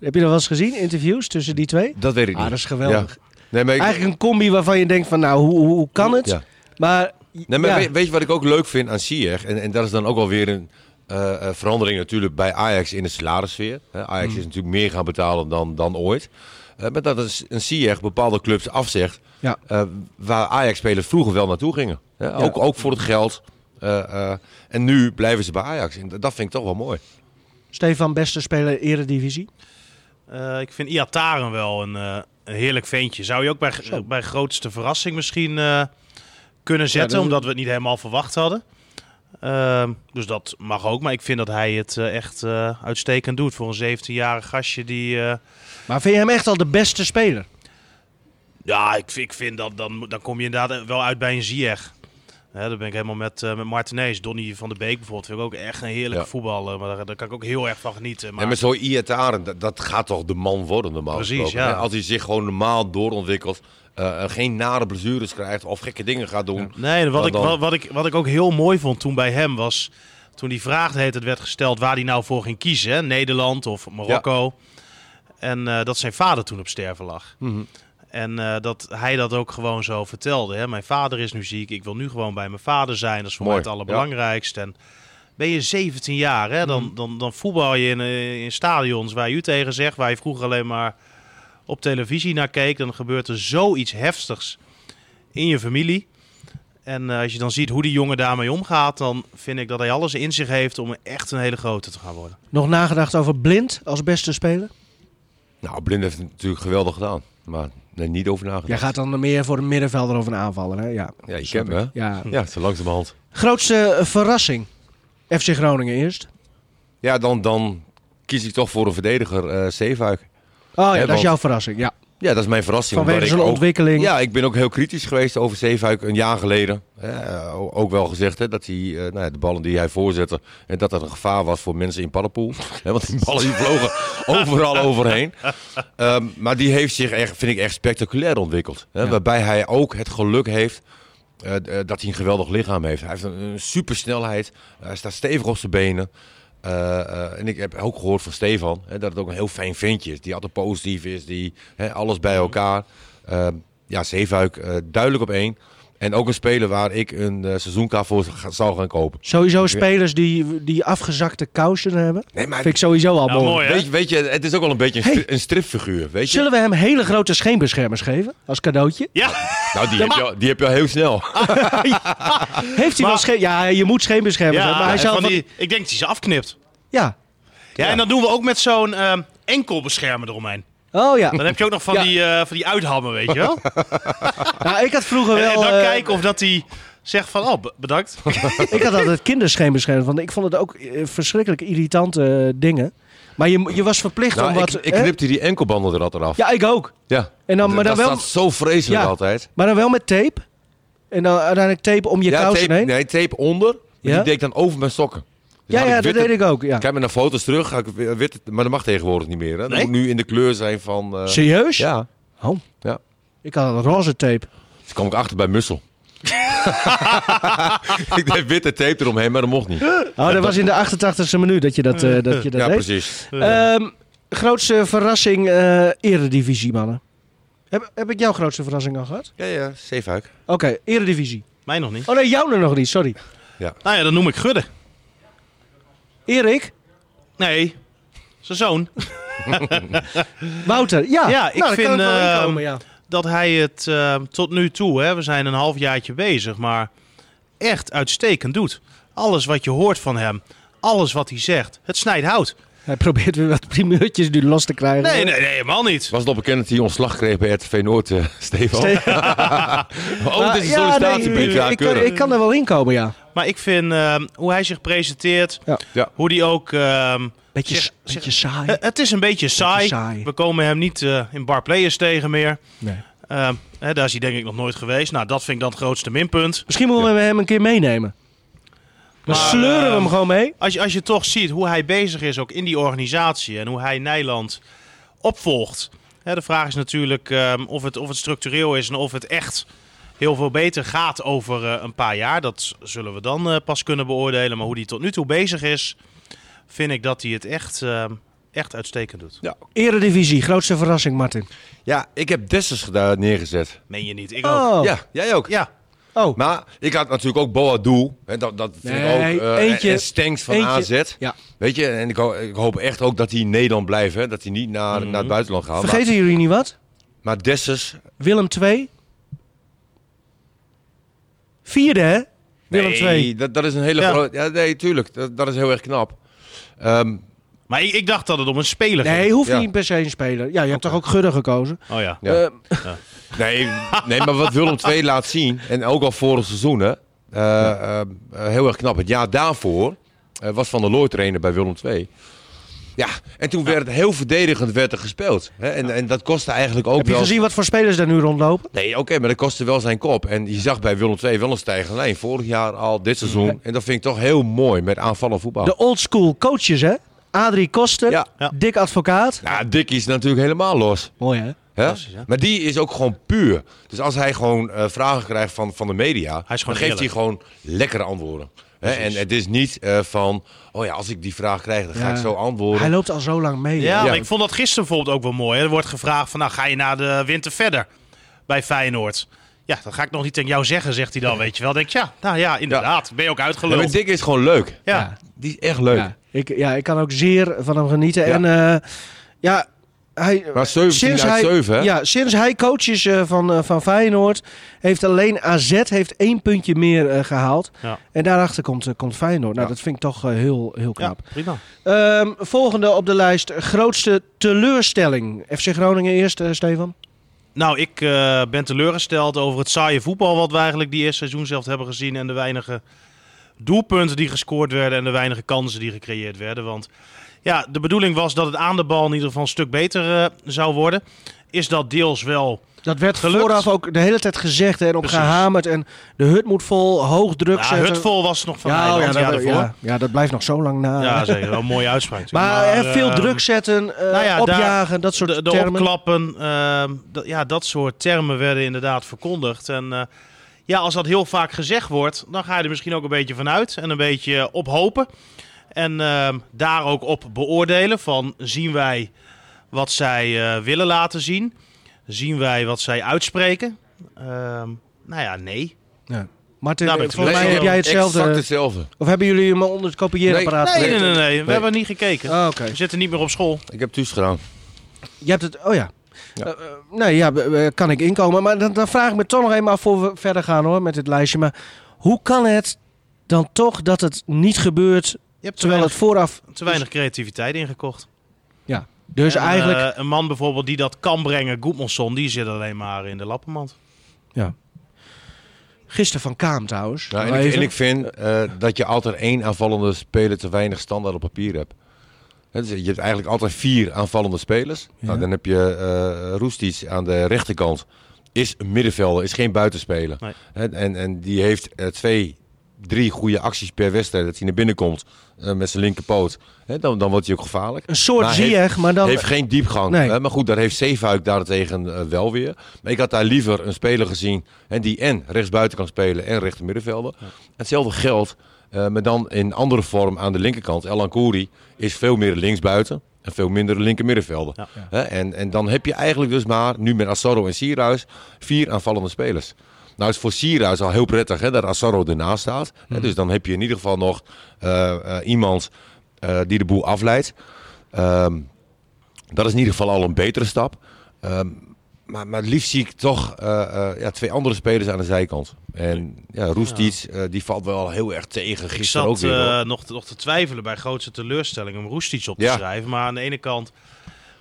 Heb je dat wel eens gezien? Interviews tussen die twee?
dat weet ik
Ah,
niet.
dat is geweldig.
Ja. Nee, maar ik-
Eigenlijk een combi waarvan je denkt van nou, hoe, hoe, hoe kan het?
Ja.
Maar,
Nee, maar
ja.
weet, weet je wat ik ook leuk vind aan Sieg? En, en dat is dan ook alweer een, eh, eh, verandering natuurlijk bij Ajax in de salarissfeer. Hè,
Mm.
Ajax is natuurlijk meer gaan betalen dan, dan ooit. Eh, maar dat is een Ziyech bepaalde clubs afzegt
Ja.
eh, waar Ajax-spelers vroeger wel naartoe gingen. Hè, Ook, ook voor het geld. Eh, eh, en nu blijven ze bij Ajax. En dat vind ik toch wel mooi.
Stefan, beste speler Eredivisie.
Eh, ik vind Iataren wel een, eh, een heerlijk ventje. Zou je ook bij, bij grootste verrassing misschien eh, kunnen zetten,
dat-
omdat we het niet helemaal verwacht hadden. Ehm, dus dat mag ook, maar ik vind dat hij het eh, echt eh, uitstekend doet voor een 17-jarig gastje die... eh,
Maar vind je hem echt al de beste speler?
ja, ik, vind- ik vind dat dan, moet- dan kom je inderdaad eh, wel uit bij een Ziyech. Hè, daar ben ik helemaal met, eh met Martinez. Donny van de Beek bijvoorbeeld vind ik ook echt een heerlijke
Ja.
voetballer. Maar daar, daar kan ik ook heel erg van genieten. Maar...
En met zo'n Iataren, dat, dat gaat toch de man worden normaal
Precies,
gesproken,
ja.
hè? Als hij zich gewoon normaal doorontwikkelt, eh, eh, geen nare blessures krijgt of gekke dingen gaat doen.
Nee, wat
Dan-
ik,
dan-
wat, wat ik, wat ik ook heel mooi vond toen bij hem was... toen die vraag de hele tijd werd gesteld waar hij nou voor ging kiezen. Hè? Nederland of Marokko. En eh, dat zijn vader toen op sterven lag. En eh, dat hij dat ook gewoon zo vertelde. Hè? Mijn vader is nu ziek. Ik wil nu gewoon bij mijn vader zijn. Dat is voor
Mooi,
mij het allerbelangrijkste. En ben je 17 jaar, hè? Dan, dan, dan voetbal je in, eh, in stadions waar je u tegen zegt. Waar je vroeger alleen maar op televisie naar keek. Dan gebeurt er zoiets heftigs in je familie. En eh, als je dan ziet hoe die jongen daarmee omgaat, dan vind ik dat hij alles in zich heeft om echt een hele grote te gaan worden.
Nog nagedacht over Blind als beste speler?
Nou, Blind heeft het natuurlijk geweldig gedaan, maar er niet over
Jij
nagedacht.
gaat dan meer voor een middenvelder of een aanvaller, hè? Ja.
Ja, je kent me, hè?
ja.
Ja, zo langzamerhand.
Grootste eh, verrassing? FC Groningen eerst.
Ja, dan, dan kies ik toch voor een verdediger, eh Zeefuik.
Oh ja,
Hè,
dat is
want-
jouw verrassing. Ja.
Ja, dat is mijn verrassing.
Vanwege
omdat ik
zijn
ook-
ontwikkeling.
Ja, ik ben ook heel kritisch geweest over Zeefuik een jaar geleden. Eh, o- ook wel gezegd hè, dat hij, eh, nou ja, de ballen die hij voorzette, en dat dat een gevaar was voor mensen in Paddenpoel. *laughs* Hè, want die ballen die
*laughs*
vlogen overal overheen. Ehm, maar die heeft zich, echt, vind ik, echt spectaculair ontwikkeld. Hè,
Ja.
Waarbij hij ook het geluk heeft eh, d- eh, dat hij een geweldig lichaam heeft. Hij heeft een, een supersnelheid. Hij staat stevig op zijn benen. Eh, eh, en ik heb ook gehoord van Stefan hè, dat het ook een heel fijn ventje is. Die altijd positief is, die hè, alles
Mhm.
bij elkaar. Eh, ja, Zeefuik eh, duidelijk op één. En ook een speler waar ik een eh seizoenkaart voor ga- zou gaan kopen.
Sowieso spelers die, die afgezakte kousen hebben.
Nee, maar-
Vind ik sowieso al
Ja,
mooi.
mooi. hè?
Weet, je- weet je, het is ook wel een beetje een, stri-
Oh Hey.
een stripfiguur. Weet je?
Zullen we hem hele grote scheenbeschermers geven als cadeautje?
Ja,
Nou, die, heb je, al- die heb je al heel snel.
Heeft hij wel
Maar-
scheen... Ja, je moet scheenbeschermers hebben.
ja
Maar hij zou
van
van-
die, ik denk dat hij ze afknipt.
Ja.
Ja, en dat doen we ook met zo'n ehm enkelbeschermer eromheen.
Oh ja.
Dan heb je ook nog van,
Ja.
die, eh, van die uithammen, weet je wel.
*laughs* Nou, ik had vroeger
en,
wel...
en dan
eh,
kijken of dat hij zegt van, oh, be- bedankt. *laughs*
Ik had altijd kinderscheenbeschermers. Want ik vond het ook eh, verschrikkelijk irritante eh, dingen. Maar je, je was verplicht
Nou,
om
ik,
wat...
ik
hè?
knipte die enkelbanden er altijd af.
Ja, ik ook.
Ja.
En dan, maar,
dat
dan wel,
staat zo vreselijk
Ja.
altijd.
maar dan wel met tape. En dan uiteindelijk tape om je kousen
tape,
heen.
nee, tape onder. Maar
Ja?
Die deed ik dan over mijn sokken.
ja,
Dus had
ja, dat
witte-
deed ik ook. Ja.
Kijk maar naar foto's terug. Ga ik wi- wit, maar dat mag tegenwoordig niet meer. Hè? Dat
Nee?
moet nu in de kleur zijn van... eh,
Serieus?
ja.
Oh.
ja.
Ik had een roze tape. Oh,
Dus kwam ik achter bij
*laughs*
Mussel. ik deed witte tape eromheen, maar dat mocht niet.
Oh, dat was in de 88e minuut dat je dat, eh, dat, je dat
ja,
deed.
precies.
Ehm, grootste verrassing, eh eredivisie, mannen. Heb, heb ik jouw grootste verrassing al gehad?
Ja, ja, Zeefuik.
Oké, eredivisie.
Mij nog niet.
Oh nee, jouw nog niet, sorry.
Nou ja, dan noem ik Gudde.
Erik,
Nee, zijn zoon.
Wouter, ja.
Ja,
Nou,
ik
daar kan
vind,
het wel
ehm,
inkomen, ja.
dat hij het eh, tot nu toe, hè, we zijn een halfjaartje bezig, maar echt uitstekend doet. Alles wat je hoort van hem, alles wat hij zegt, het snijdt hout.
Hij probeert weer wat primeurtjes nu los te krijgen.
Nee, nee, nee, helemaal niet.
Was het al bekend dat hij ontslag kreeg bij RTV Noord, eh, Stefan? oh,
Maar-
dit is een
ja,
sollicitatiebrief.
nee,
ja,
ik, kan,
keurig.
ik kan er wel inkomen, ja.
Maar ik vind eh, hoe hij zich presenteert,
Ja.
Ja.
hoe hij ook... ehm,
Beetje,
Zeg-
s-
zeg-
beetje saai.
Eh, het het is een beetje saai.
saai.
We komen hem niet eh, in bar players tegen meer.
Nee.
Ehm, hè, daar is hij denk ik nog nooit geweest. Nou, dat vind ik dan het grootste minpunt.
Misschien moeten we hem een keer meenemen. Dan
Maar,
sleuren
eh,
we hem
ehm,
gewoon mee.
Als je, als je toch ziet hoe hij bezig is ook in die organisatie en hoe hij Nijland opvolgt. Hè, de vraag is natuurlijk ehm, of, het, of het structureel is en of het echt heel veel beter gaat over eh, een paar jaar. Dat zullen we dan eh, pas kunnen beoordelen. Maar hoe hij tot nu toe bezig is, vind ik dat hij het echt, ehm, echt uitstekend doet.
Ja.
Eredivisie, grootste verrassing, Martin.
ja, ik heb Dessers daar neergezet.
Meen je niet? Ik ook.
Oh,
Ja, jij ook.
Ja,
Oh.
Maar ik had natuurlijk ook Boadu. Hè, dat, dat vind
Nee,
ik ook. eh,
eentje.
en Stenks van
Eentje.
AZ.
Ja.
Weet je, en ik, ho- ik hoop echt ook dat hij in Nederland blijft. Hè, dat hij niet naar,
Mhm.
naar het buitenland gaat. Maar,
Vergeten jullie niet wat?
maar Dessers...
Willem 2. Vierde, hè? Willem
nee,
2.
Dat, dat is een hele
Ja.
grote... Ja, nee, tuurlijk. Dat, dat is heel erg knap. Ehm,
Maar ik, ik dacht dat het om een speler ging.
Nee, hoeft
Ja.
niet per se een speler. Ja, je hebt toch ook Gudde gekozen?
Oh ja.
Ja. Eh, *laughs* nee, nee, maar wat Willem II laat zien, en ook al vorig seizoen, hè, eh, eh, heel erg knap. Het jaar daarvoor eh, was Van der Looy trainer bij Willem II. Ja, en toen werd het heel verdedigend werd er gespeeld. Hè, en, en dat kostte eigenlijk ook
Heb je
wel...
gezien wat voor spelers daar nu rondlopen?
Nee, oké, maar dat kostte wel zijn kop. En je zag bij Willem II wel een stijgende lijn. Vorig jaar al, dit seizoen. En dat vind ik toch heel mooi met aanvallend voetbal.
De old school coaches, hè? Adrie Koster,
Ja.
Ja.
Dick Advocaat.
Nou, Dickie is natuurlijk helemaal los.
Mooi, hè?
Hè?
Fantastisch, hè?
Maar die is ook gewoon puur. Dus als hij gewoon eh, vragen krijgt van, van de media,
Hij is
dan
gewoon
geeft hij
eerlijk.
gewoon lekkere antwoorden. Hè? En het is niet eh, van, oh ja, als ik die vraag krijg, dan ga
Ja.
ik zo
Hij
antwoorden.
loopt al zo lang mee. hè?
Ja,
Ja.
maar ik vond dat gisteren bijvoorbeeld ook wel mooi. hè. Er wordt gevraagd van, nou ga je na de winter verder bij Feyenoord? Ja, dat ga ik nog niet tegen jou zeggen, zegt hij dan, weet je wel. Denk ik, ja, nou ja, inderdaad. Ben je ook
Ja,
uitgeluld.
maar Dick is gewoon leuk.
ja.
Ja.
Die is echt leuk.
Ja, ik, ja, ik kan ook zeer van hem genieten.
Ja.
En eh, ja, hij,
Maar 17 uit
hij,
7, hè?
Ja, sinds hij coach is eh, van, eh, van Feyenoord, heeft alleen AZ heeft één puntje meer eh, gehaald.
Ja.
En daarachter komt, eh, komt Feyenoord. Nou,
Ja.
dat vind ik toch eh, heel, heel
Ja,
knap.
prima.
Ehm, volgende op de lijst, grootste teleurstelling. FC Groningen eerst, eh, Stefan.
Nou, ik eh, ben teleurgesteld over het saaie voetbal wat we eigenlijk die eerste seizoen zelf hebben gezien. En de weinige doelpunten die gescoord werden en de weinige kansen die gecreëerd werden. Want ja, de bedoeling was dat het aan de bal in ieder geval een stuk beter eh, zou worden. Is dat deels wel...
Dat werd
Gelukt.
vooraf ook de hele tijd gezegd hè, en op
Precies.
gehamerd. En de hut moet vol, hoog druk
Ja,
zetten.
Hutvol was nog van
Ja, oh, ja,
Nederland, ja,
dat,
daarvoor.
ja, ja, dat blijft nog zo lang na.
Ja, zeker. Wel een mooie uitspraak. natuurlijk.
Maar, hè, veel
ehm,
druk zetten, eh,
nou ja, daar-
opjagen, dat soort
De, de
termen.
opklappen, ehm, dat- ja, dat soort termen werden inderdaad verkondigd. En eh, ja, als dat heel vaak gezegd wordt, dan ga je er misschien ook een beetje vanuit en een beetje op hopen. En ehm, daar ook op beoordelen van zien wij wat zij eh, willen laten zien? Zien wij wat zij uitspreken? Ehm, nou ja, nee.
Ja. Martin,
Daar ben ik
volgens
blij
mij
mee.
heb jij hetzelfde.
Exact hetzelfde.
Of hebben jullie hem al onder het kopieerapparaat?
Nee, nee, nee, nee. We
Nee.
hebben niet gekeken.
Oh, Oké.
We zitten niet meer op school.
Ik heb thuis gedaan.
Je hebt het. Oh ja.
Ja.
Eh, eh, nee, ja, b- b- kan ik inkomen. Maar dan, dan vraag ik me toch nog eenmaal voor we verder gaan hoor, met dit lijstje. Maar hoe kan het dan toch dat het niet gebeurt
Je hebt te
terwijl het
weinig,
vooraf.
te weinig creativiteit ingekocht.
Ja. Dus
En,
eigenlijk.
eh, een man bijvoorbeeld die dat kan brengen, Goedmanson, die zit alleen maar in de lappenmand.
ja. Gisteren van Kaam trouwens.
Ja,
Nog
Nou, en, ik,
even.
en ik vind eh, dat je altijd één aanvallende speler te weinig standaard op papier hebt. Hè, dus Je hebt eigenlijk altijd vier aanvallende spelers. Nou, dan heb je eh Roestic aan de rechterkant. Is een middenvelder, is geen buitenspeler.
Nee.
Hè, En, en die heeft eh, twee, drie goede acties per wedstrijd. Dat hij naar binnen komt eh, met zijn linkerpoot. Hè, dan, dan wordt hij ook gevaarlijk.
Een soort
Maar
Ziyech, maar dan.
Heeft geen diepgang.
Nee.
Hè? Maar goed, daar heeft Zeefuik daartegen eh, wel weer. Maar ik had daar liever een speler gezien hè, die en rechtsbuiten kan spelen en rechter middenvelder. Hetzelfde geldt, eh, maar dan in andere vorm aan de linkerkant. El Ancoury is veel meer linksbuiten en veel minder linker middenvelder.
Ja.
Hè? En, en dan heb je eigenlijk dus maar, nu met Assoro en Sierhuis, vier aanvallende spelers. Nou is voor Sierhuis al heel prettig hè, dat Assoro ernaast staat. Hè, Dus dan heb je in ieder geval nog eh, eh, iemand eh, die de boel afleidt. Ehm, dat is in ieder geval al een betere stap. Ehm, maar, maar het liefst zie ik toch eh, eh, ja, twee andere spelers aan de zijkant. En ja, Roestic, eh, die valt wel heel erg tegen
Ik
gisteren ook
zat
weer. hoor.
eh, nog, te- nog te twijfelen bij grootste teleurstelling om Roestic op te
Ja.
schrijven. Maar aan de ene kant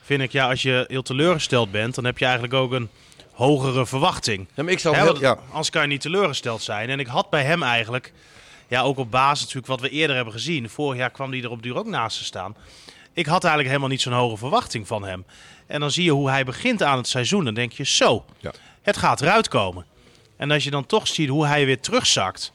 vind ik, ja, als je heel teleurgesteld bent, dan heb je eigenlijk ook een hogere verwachting.
Ja, maar ik zou
Hè,
heel,
want
ja,
Anders kan je niet teleurgesteld zijn. En ik had bij hem eigenlijk, ja, ook op basis natuurlijk wat we eerder hebben gezien. Vorig jaar kwam hij er op duur ook naast te staan. Ik had eigenlijk helemaal niet zo'n hoge verwachting van hem. En dan zie je hoe hij begint aan het seizoen. Dan denk je, zo,
Ja.
het gaat eruit komen. En als je dan toch ziet hoe hij weer terugzakt.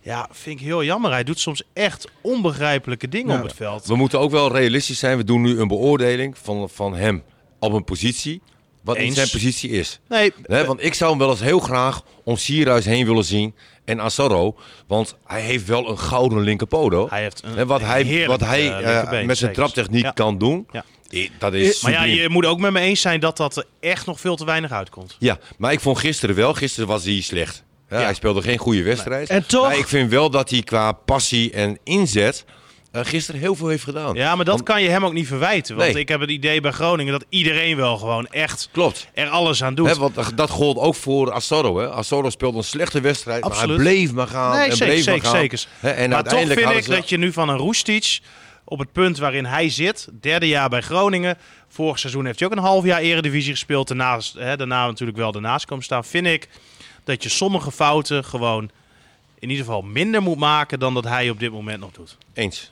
Ja, vind ik heel jammer. Hij doet soms echt onbegrijpelijke dingen op het veld.
We moeten ook wel realistisch zijn. We doen nu een beoordeling van, van hem op een positie. Wat niet
Eens.
zijn positie is.
Nee,
Hè, want ik zou hem wel eens heel graag om Sierhuis heen willen zien. En Assaro. Want hij heeft wel een gouden linkerpoot. hoor.
Hij heeft een-
Hè, wat
een
hij,
heerlijk,
wat hij
eh,
eh,
linkerbeen,
met zijn
zeker.
traptechniek
Ja.
kan doen.
Ja.
eh, Dat is
maar ja,
subliem.
je moet ook met me eens zijn dat dat er echt nog veel te weinig uitkomt.
Ja, maar ik vond gisteren wel. Gisteren was hij slecht. Ja,
Ja.
Hij speelde geen goede wedstrijd.
En toch-
Maar ik vind wel dat hij qua passie en inzet eh, gisteren heel veel heeft gedaan.
Ja, maar dat kan je hem ook niet verwijten. Want
Nee.
ik heb het idee bij Groningen dat iedereen wel gewoon echt
Klopt.
er alles aan doet.
Hè, want dat- dat gold ook voor Asoro. Hè. Asoro speelde een slechte wedstrijd, maar
Absoluut.
hij bleef maar gaan.
nee,
en
zeker,
bleef
zeker,
maar gaan.
zeker.
Hè, en
maar toch
uiteindelijk
vind
hadden
ik
ze-
dat je nu van een Roestic, op het punt waarin hij zit, derde jaar bij Groningen, vorig seizoen heeft hij ook een half jaar eredivisie gespeeld, daarnaast, hè, daarna natuurlijk wel ernaast komen staan, vind ik dat je sommige fouten gewoon in ieder geval minder moet maken dan dat hij op dit moment nog doet.
Eens.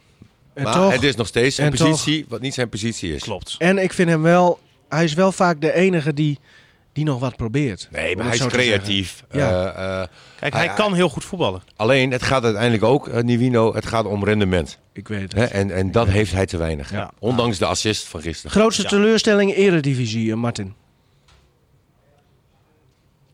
En
maar
toch,
het is nog steeds zijn
en toch-
positie, wat niet zijn positie is.
Klopt.
en ik vind hem wel, hij is wel vaak de enige die, die nog wat probeert.
Nee,
Om
maar
het
hij is
zo te
creatief.
Ja.
Eh, eh,
Kijk, hij
Ah, ja.
kan heel goed voetballen.
alleen, het gaat uiteindelijk ook, eh, Nivino, het gaat om rendement.
zeggen. Ik weet
Hè,
het.
en, en dat heeft hij te weinig.
Ja.
Ondanks de assist van gisteren.
Grootste
Ja.
teleurstelling eredivisie, eh, Martin.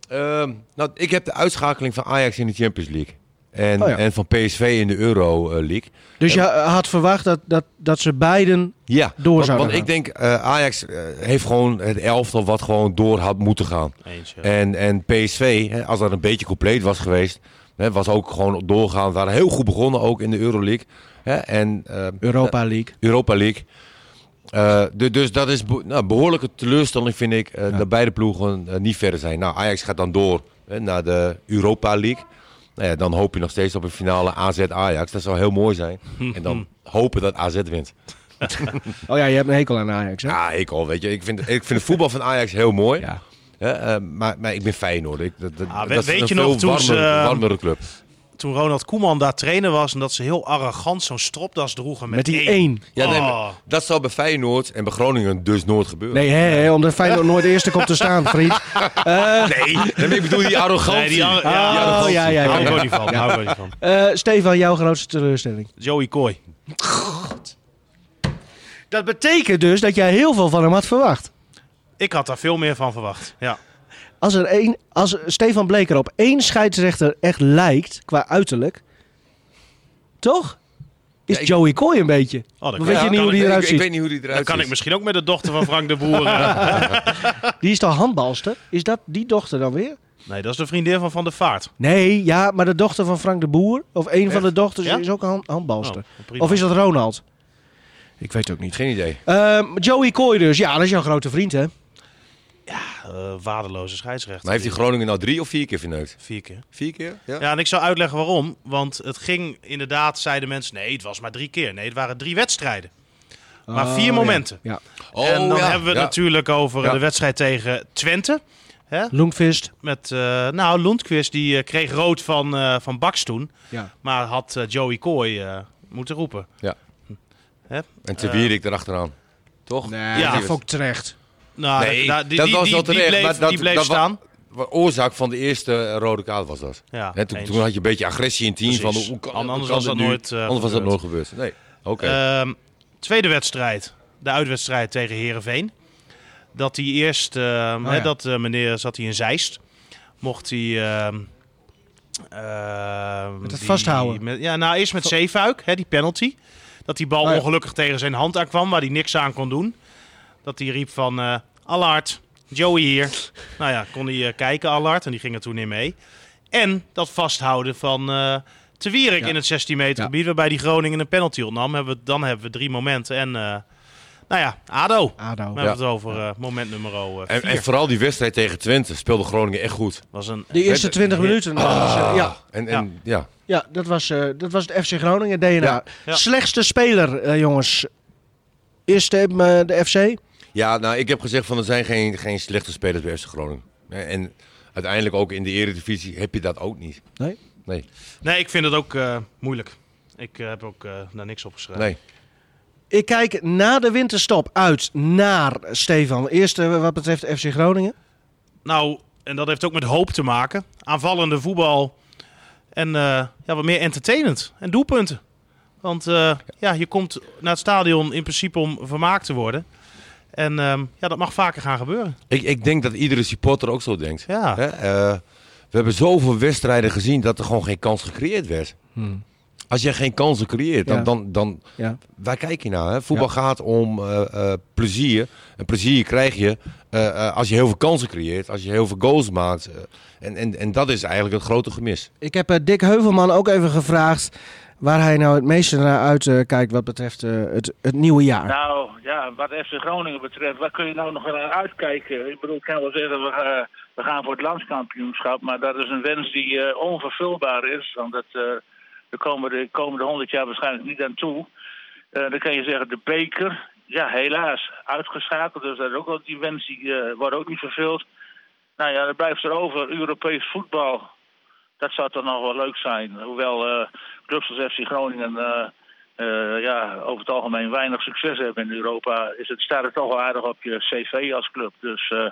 Ehm, nou, ik heb de uitschakeling van Ajax in de Champions League. En,
Oh ja.
en van PSV in de Euro eh, League.
Dus je eh, had verwacht dat, dat, dat ze beiden
Ja,
Door
want,
zouden
want
gaan.
ik denk eh, Ajax eh, heeft gewoon het elftal wat gewoon door had moeten gaan.
Eens, ja.
En, en PSV, hè, als dat een beetje compleet was geweest, hè, was ook gewoon doorgaan. We waren heel goed begonnen ook in de Euroleague. Hè, en eh,
Europa League.
Europa League. Eh, du- dus dat is be- nou, behoorlijke teleurstelling, vind ik, eh, dat beide ploegen eh, niet verder zijn. Nou, Ajax gaat dan door hè, naar de Europa League. Nou ja, dan hoop je nog steeds op een finale AZ-Ajax. Dat zou heel mooi
*laughs*
zijn. En dan hopen dat AZ wint.
Oh ja, je hebt een hekel aan Ajax, hè?
Ja, Nou, ik al, weet je. Ik vind, ik vind het voetbal van Ajax heel
*laughs*
mooi.
Ja.
Hè, eh, maar, maar ik ben Feyenoord. Ik, dat, dat,
Ah,
dat
we-
is
weet
een
je
veel
nog toen ze,
warmer,
eh,
warmere club.
Toen Ronald Koeman daar trainer was en dat ze heel arrogant zo'n stropdas droegen met,
Met die één.
Ja, nee, maar
Oh.
dat zou bij Feyenoord en bij Groningen dus nooit gebeuren.
Nee, hè, hè, omdat Feyenoord nooit eerste komt te staan,
*laughs*
vriend.
Nee,
*laughs*
ik bedoel die arrogantie.
Nee, die arro- ja,
Oh,
arrogantie.
ja, ja, ja.
Hou ik ook niet van. Hou ik ook niet van.
Eh, Stefan, jouw grootste teleurstelling.
Joey Kooi.
Dat betekent dus dat jij heel veel van hem had verwacht.
Ik had daar veel meer van verwacht. Ja. Oh,
Als, er één, als Stefan Bleker op één scheidsrechter echt lijkt, qua uiterlijk, toch? Is
Ja, ik-
Joey Coy een beetje.
Oh, dat
Maar weet
kan.
Ja,
je niet
kan
hoe
ik-
die eruit
ik- Ik
ziet?
weet niet hoe die eruit
Dan kan
ziet.
ik misschien ook met de dochter van Frank de Boer. eh. *laughs*
Die is toch handbalster? Is dat die dochter dan weer?
Nee, dat is de vriendin van Van der Vaart.
Nee, ja, maar de dochter van Frank de Boer, of een van de dochters,
Ja?
is ook een hand- handbalster.
Oh, prima.
of is dat Ronald? Ik weet het ook niet.
Geen idee.
Ehm, Joey Coy dus, ja, dat is jouw grote vriend, hè? Oh,
Eh, waardeloze scheidsrechter.
Maar heeft die Groningen nou drie of vier keer verneukt?
Vier keer.
Vier keer?
Ja, en ik zou uitleggen waarom. Want het ging inderdaad, zeiden mensen, nee, het was maar drie keer. Nee, het waren drie wedstrijden. Maar
Oh,
vier
ja.
momenten.
Ja.
Oh,
en dan
ja.
hebben we het
Ja.
natuurlijk over eh,
Ja.
de wedstrijd tegen Twente. Hè?
Longfist.
Met, eh, nou, Lundqvist die eh, kreeg rood van, eh, van Baks toen.
Ja.
Maar had eh, Joey Kooi eh, moeten roepen.
Ja.
Hè?
En te wier ik erachteraan. Toch?
Nee,
Ja.
dat vond ik terecht.
Nou,
Nee,
da- die,
dat
die,
was
die-
wel
die
terecht,
bleef,
maar dat-
die bleef
dat wa-
staan.
Wa- Oorzaak van de eerste eh, rode kaart was dat.
Ja,
Hè, toen,
eens.
toen had je een beetje agressie in het team.
Precies.
Van, hoe kan,
Anders
hoe kan
was
dit
dat
nu?
nooit, eh,
Anders was dat
gebeurd.
nooit gebeurd. Nee. Oké.
Ehm, tweede wedstrijd, de uitwedstrijd tegen Herenveen. Dat hij eerst, ehm,
Oh,
hè,
ja.
dat eh, meneer zat hij in Zeist. Mocht hij. ehm, ehm,
Met het
die-
vasthouden.
met- ja, nou eerst met Zeefuik, hè, die penalty. Dat die bal
Oh, ja.
ongelukkig tegen zijn hand aankwam, waar hij niks aan kon doen. Dat hij riep van eh Allard, Joey hier. nou ja, kon hij eh, kijken, Allard, en die ging er toen in mee. En dat vasthouden van eh Te Wierik
Ja.
in het 16 meter
Ja.
gebied, waarbij die Groningen een penalty ontnam. Hebben we, dan hebben we drie momenten. En eh, nou ja, ADO. We
Ado.
hebben het over eh, moment nummer 4.
en, en vooral die wedstrijd tegen Twente speelde Groningen echt goed. Ah.
was een
De eerste 20
Ah. Ja.
minuten. dat was, eh, ja,
En, en, ja.
ja dat, was, eh, dat was het FC Groningen DNA.
Ja.
Ja.
Slechtste speler, eh, jongens. Is de, eh, de FC?
Ja, nou, ik heb gezegd van er zijn geen, geen slechte spelers bij FC Groningen. Eh, En uiteindelijk ook in de Eredivisie heb je dat ook niet.
Nee.
Nee,
Nee, ik vind het ook eh, moeilijk. Ik eh, heb ook eh, daar niks op geschreven.
nee.
Ik kijk na de winterstop uit naar Stefan. Eerst eh, wat betreft FC Groningen.
Nou, en dat heeft ook met hoop te maken. Aanvallende voetbal en eh, ja, wat meer entertainend. En doelpunten. Want eh, ja, je komt naar het stadion in principe om vermaakt te worden. En ehm, ja, dat mag vaker gaan gebeuren.
Ik, ik denk dat iedere supporter ook zo denkt.
Ja.
Hè, eh, we hebben zoveel wedstrijden gezien dat er gewoon geen kans gecreëerd werd. Als jij geen kansen creëert, dan,
Ja.
dan, dan
Ja.
waar kijk je naar? Hè? Voetbal gaat om eh, eh, plezier. En plezier krijg je eh, eh, als je heel veel kansen creëert, als je heel veel goals maakt. eh. en, en, en dat is eigenlijk het grote gemis.
Ik heb eh, Dick Heuvelman ook even gevraagd waar hij nou het meeste naar uitkijkt kijkt wat betreft eh, het, het nieuwe jaar.
Nou ja, wat FC Groningen betreft, waar kun je nou nog naar uitkijken? Ik bedoel, ik kan wel zeggen, we, eh, we gaan voor het landskampioenschap. Maar dat is een wens die eh, onvervulbaar is. Want dat, eh daar komen de komende 100 jaar waarschijnlijk niet aan toe. Eh, dan kan je zeggen, de beker, ja, helaas, uitgeschakeld. Dus dat is ook wel, die wens die, eh, wordt ook niet vervuld. Nou ja, dan blijft er over Europees voetbal. Dat zou toch nog wel leuk zijn. Hoewel eh clubs als FC Groningen eh, eh, ja, over het algemeen weinig succes hebben in Europa, is het, staat het toch wel aardig op je cv als club. Dus eh,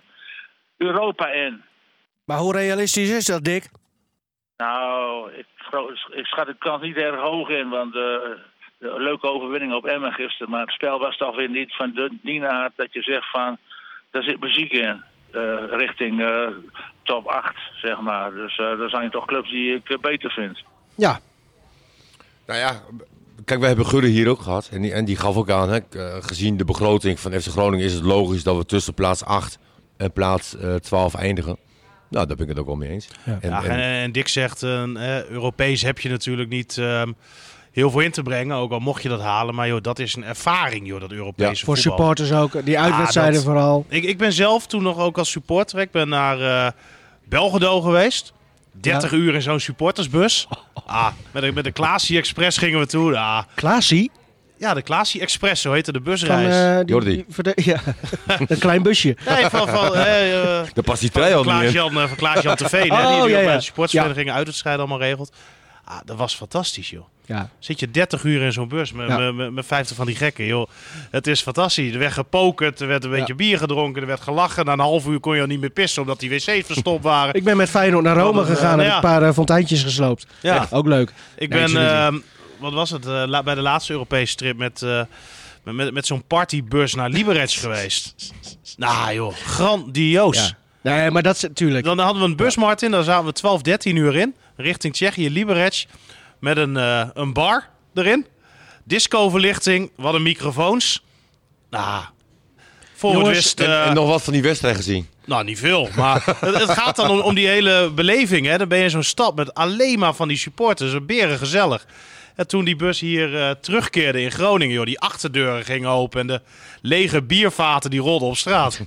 Europa in.
Maar hoe realistisch is dat, Dick?
Nou, ik, gro- ik schat de kans niet erg hoog in, want eh, een leuke overwinning op Emmen gisteren. Maar het spel was toch weer niet van de dienaard dat je zegt van, daar zit muziek in. eh, richting eh, top 8, zeg maar. Dus eh er zijn toch clubs die ik eh, beter vind.
Ja,
Nou ja, kijk, we hebben Gudde hier ook gehad. En die, en die gaf ook aan, hè, k- eh, gezien de begroting van FC Groningen is het logisch dat we tussen plaats 8 en plaats eh, 12 eindigen. Nou, daar ben ik het ook wel mee eens. En-
Ja, en,
en-
en Dick zegt, eh, eh, Europees heb je natuurlijk niet ehm, heel veel in te brengen. Ook al mocht je dat halen. Maar joh, dat is een ervaring, joh, dat Europese
Ja.
voor
voetbal.
supporters ook. Die uitwedstrijden
dat-
vooral.
Ik, ik ben zelf toen nog ook als supporter. Ik ben naar eh Belgedo geweest. 30 uur in zo'n
*laughs*
supportersbus. Ah, met, de, met de Klaasie Express gingen we toe. Ah,
Klaasie
ja, de Klaasie Express, zo heette de
van
busreis.
eh die,
Jordi.
die *laughs* verde- ja, een klein busje.
Nee, van,
*laughs*
van, eh, eh,
daar past die
van
trui al niet in.
Klaas-Jan eh, van Klaas-Jan te Veen. hè,
Oh,
die
ja,
ja, bij
ja.
de sportsvereniging uitwedstrijden allemaal regelt. Ah, dat was fantastisch, joh.
Ja.
Zit je 30 uur in zo'n bus met,
Ja.
met, met, met 50 van die gekken, joh. Het is fantastisch. Er werd gepokerd, er werd een beetje bier gedronken, er werd gelachen. Na een half uur kon je al niet meer pissen omdat die wc's verstopt
*laughs*
waren.
Ik ben met Feyenoord naar Rome
Wat een, eh,
gegaan en
nou
heb
ja.
een paar eh, fonteintjes gesloopt.
Ja.
Echt, ook leuk.
Ik
Nee,
ben,
natuurlijk
ehm, wat was het, eh, la- bij de laatste Europese trip met, eh, met, met, met zo'n partybus naar Liberec
*laughs*
geweest. Nou joh, grandioos.
Ja. Nee, maar dat is natuurlijk.
Dan hadden we een bus, Martin. Daar zaten we 12, 13 uur in. Richting Tsjechië, Liberec. Met een, eh, een bar erin. Discoverlichting. We hadden microfoons. Nou, voor het
Jongens,
wist...
En,
eh,
en nog wat van die wedstrijd gezien.
Nou, niet veel. Maar *laughs* het, het gaat dan om, om die hele beleving. Hè. Dan ben je in zo'n stad met alleen maar van die supporters. Een beren gezellig. En toen die bus hier eh, terugkeerde in Groningen, joh, die achterdeuren gingen open en de lege biervaten die rolden op straat. *laughs*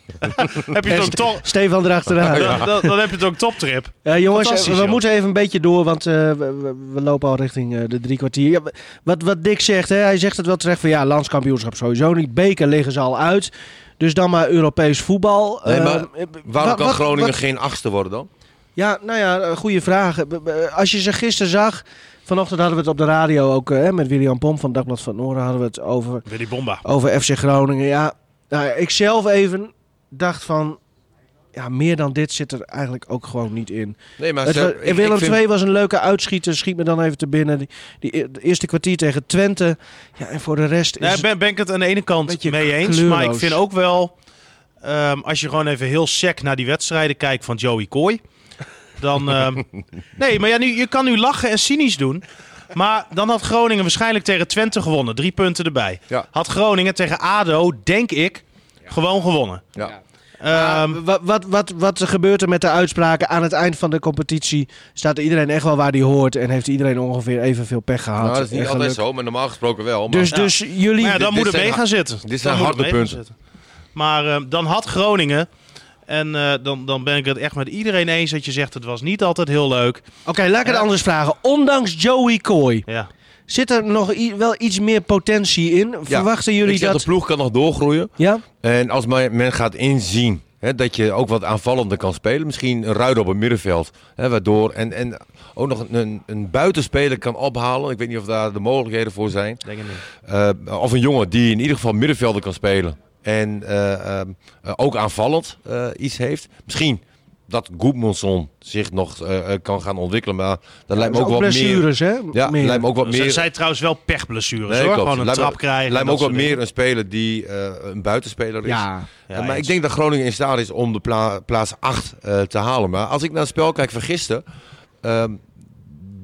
heb je
En
het ook
Ste-
top?
Stefan erachteraan.
Dan, dan, dan heb je het ook toptrip.
Eh, jongens, eh,
Oh, Fantastisch,
we
joh.
moeten even een beetje door, want eh, we, we- we lopen al richting eh, de drie kwartier. Ja, wat, wat Dick zegt, hè, hij zegt het wel terecht van ja, landskampioenschap sowieso niet. Beker liggen ze al uit. Dus dan maar Europees voetbal.
Nee,
Eh,
maar
eh,
Waarom
wa-
kan
wat-
Groningen
wat-
geen achtste worden dan?
ja, nou ja, eh, goede vraag. Eh, b- b- Als je ze gisteren zag, vanochtend hadden we het op de radio ook eh, met William Pomp van Dagblad van het Noorden hadden we het over
Willy Bomba.
over FC Groningen. Ja, nou ja, ik zelf even dacht van... Ja, meer dan dit zit er eigenlijk ook gewoon niet in.
Nee, maar
Het
ze-
wa-
ik- ik
Willem
vind-
II was een leuke uitschieter. Schiet me dan even te binnen. Die, die e- de eerste kwartier tegen Twente. Ja, en voor de rest is
Nee,
het-
ben, ben ik het aan de ene kant
beetje
mee eens.
kleurloos.
Maar ik vind ook wel, ehm, als je gewoon even heel sec naar die wedstrijden kijkt van Joey Kooi.
*laughs*
Dan, ehm, nee, maar ja, nu, je kan nu lachen en cynisch doen. Maar dan had Groningen waarschijnlijk tegen Twente gewonnen. Drie punten erbij.
Ja.
Had Groningen tegen ADO, denk ik, gewoon gewonnen.
Ah,
Ja.
Ehm,
Wa- wat, wat, wat er gebeurt er met de uitspraken aan het eind van de competitie? Staat iedereen echt wel waar die hoort? En heeft iedereen ongeveer evenveel pech gehad?
Nou, dat is niet
en
altijd
geluk?
zo, maar normaal gesproken wel. Maar...
Dus,
Ja.
dus jullie...
Maar ja, dan
dit
moet het mee
zijn
gaan zitten.
dit
Dan
zijn
moet het
harde
mee gaan
punten.
zitten. Maar eh, dan had Groningen, en eh, dan, dan ben ik het echt met iedereen eens dat je zegt het was niet altijd heel leuk.
Oké, laat ik het
Ja.
anders vragen. Ondanks Joey Kooi...
Ja.
Zit er nog i- wel iets meer potentie in?
Ja.
Verwachten
Ik
jullie
zeg,
dat?
De ploeg kan nog doorgroeien.
Ja?
En als men men gaat inzien hè, dat je ook wat aanvallender kan spelen, misschien een ruil op het middenveld, hè, waardoor en, en ook nog een, een buitenspeler kan ophalen. Ik weet niet of daar de mogelijkheden voor zijn.
Denk het niet.
Eh, of een jongen die in ieder geval middenvelder kan spelen en eh, ehm, eh, ook aanvallend eh, iets heeft. Misschien dat Goedmanson zich nog eh, eh, kan gaan ontwikkelen, maar dat lijkt me ook,
Dus
wat meer.
blessures, hè?
Ja,
Meer.
lijkt me ook wat
Ze
meer.
Zij trouwens wel pechblessures
Nee,
hoor.
klopt.
Gewoon een
Lijkt me-
trap krijgen.
Lijkt me
en
ook wat
dat soort
meer een speler die eh, een buitenspeler is.
Ja.
dingen.
Ja,
Ja,
maar ik
eens.
denk dat Groningen in staat is om de pla- plaats 8 eh, te halen. Maar als ik naar het spel kijk van gisteren. ehm,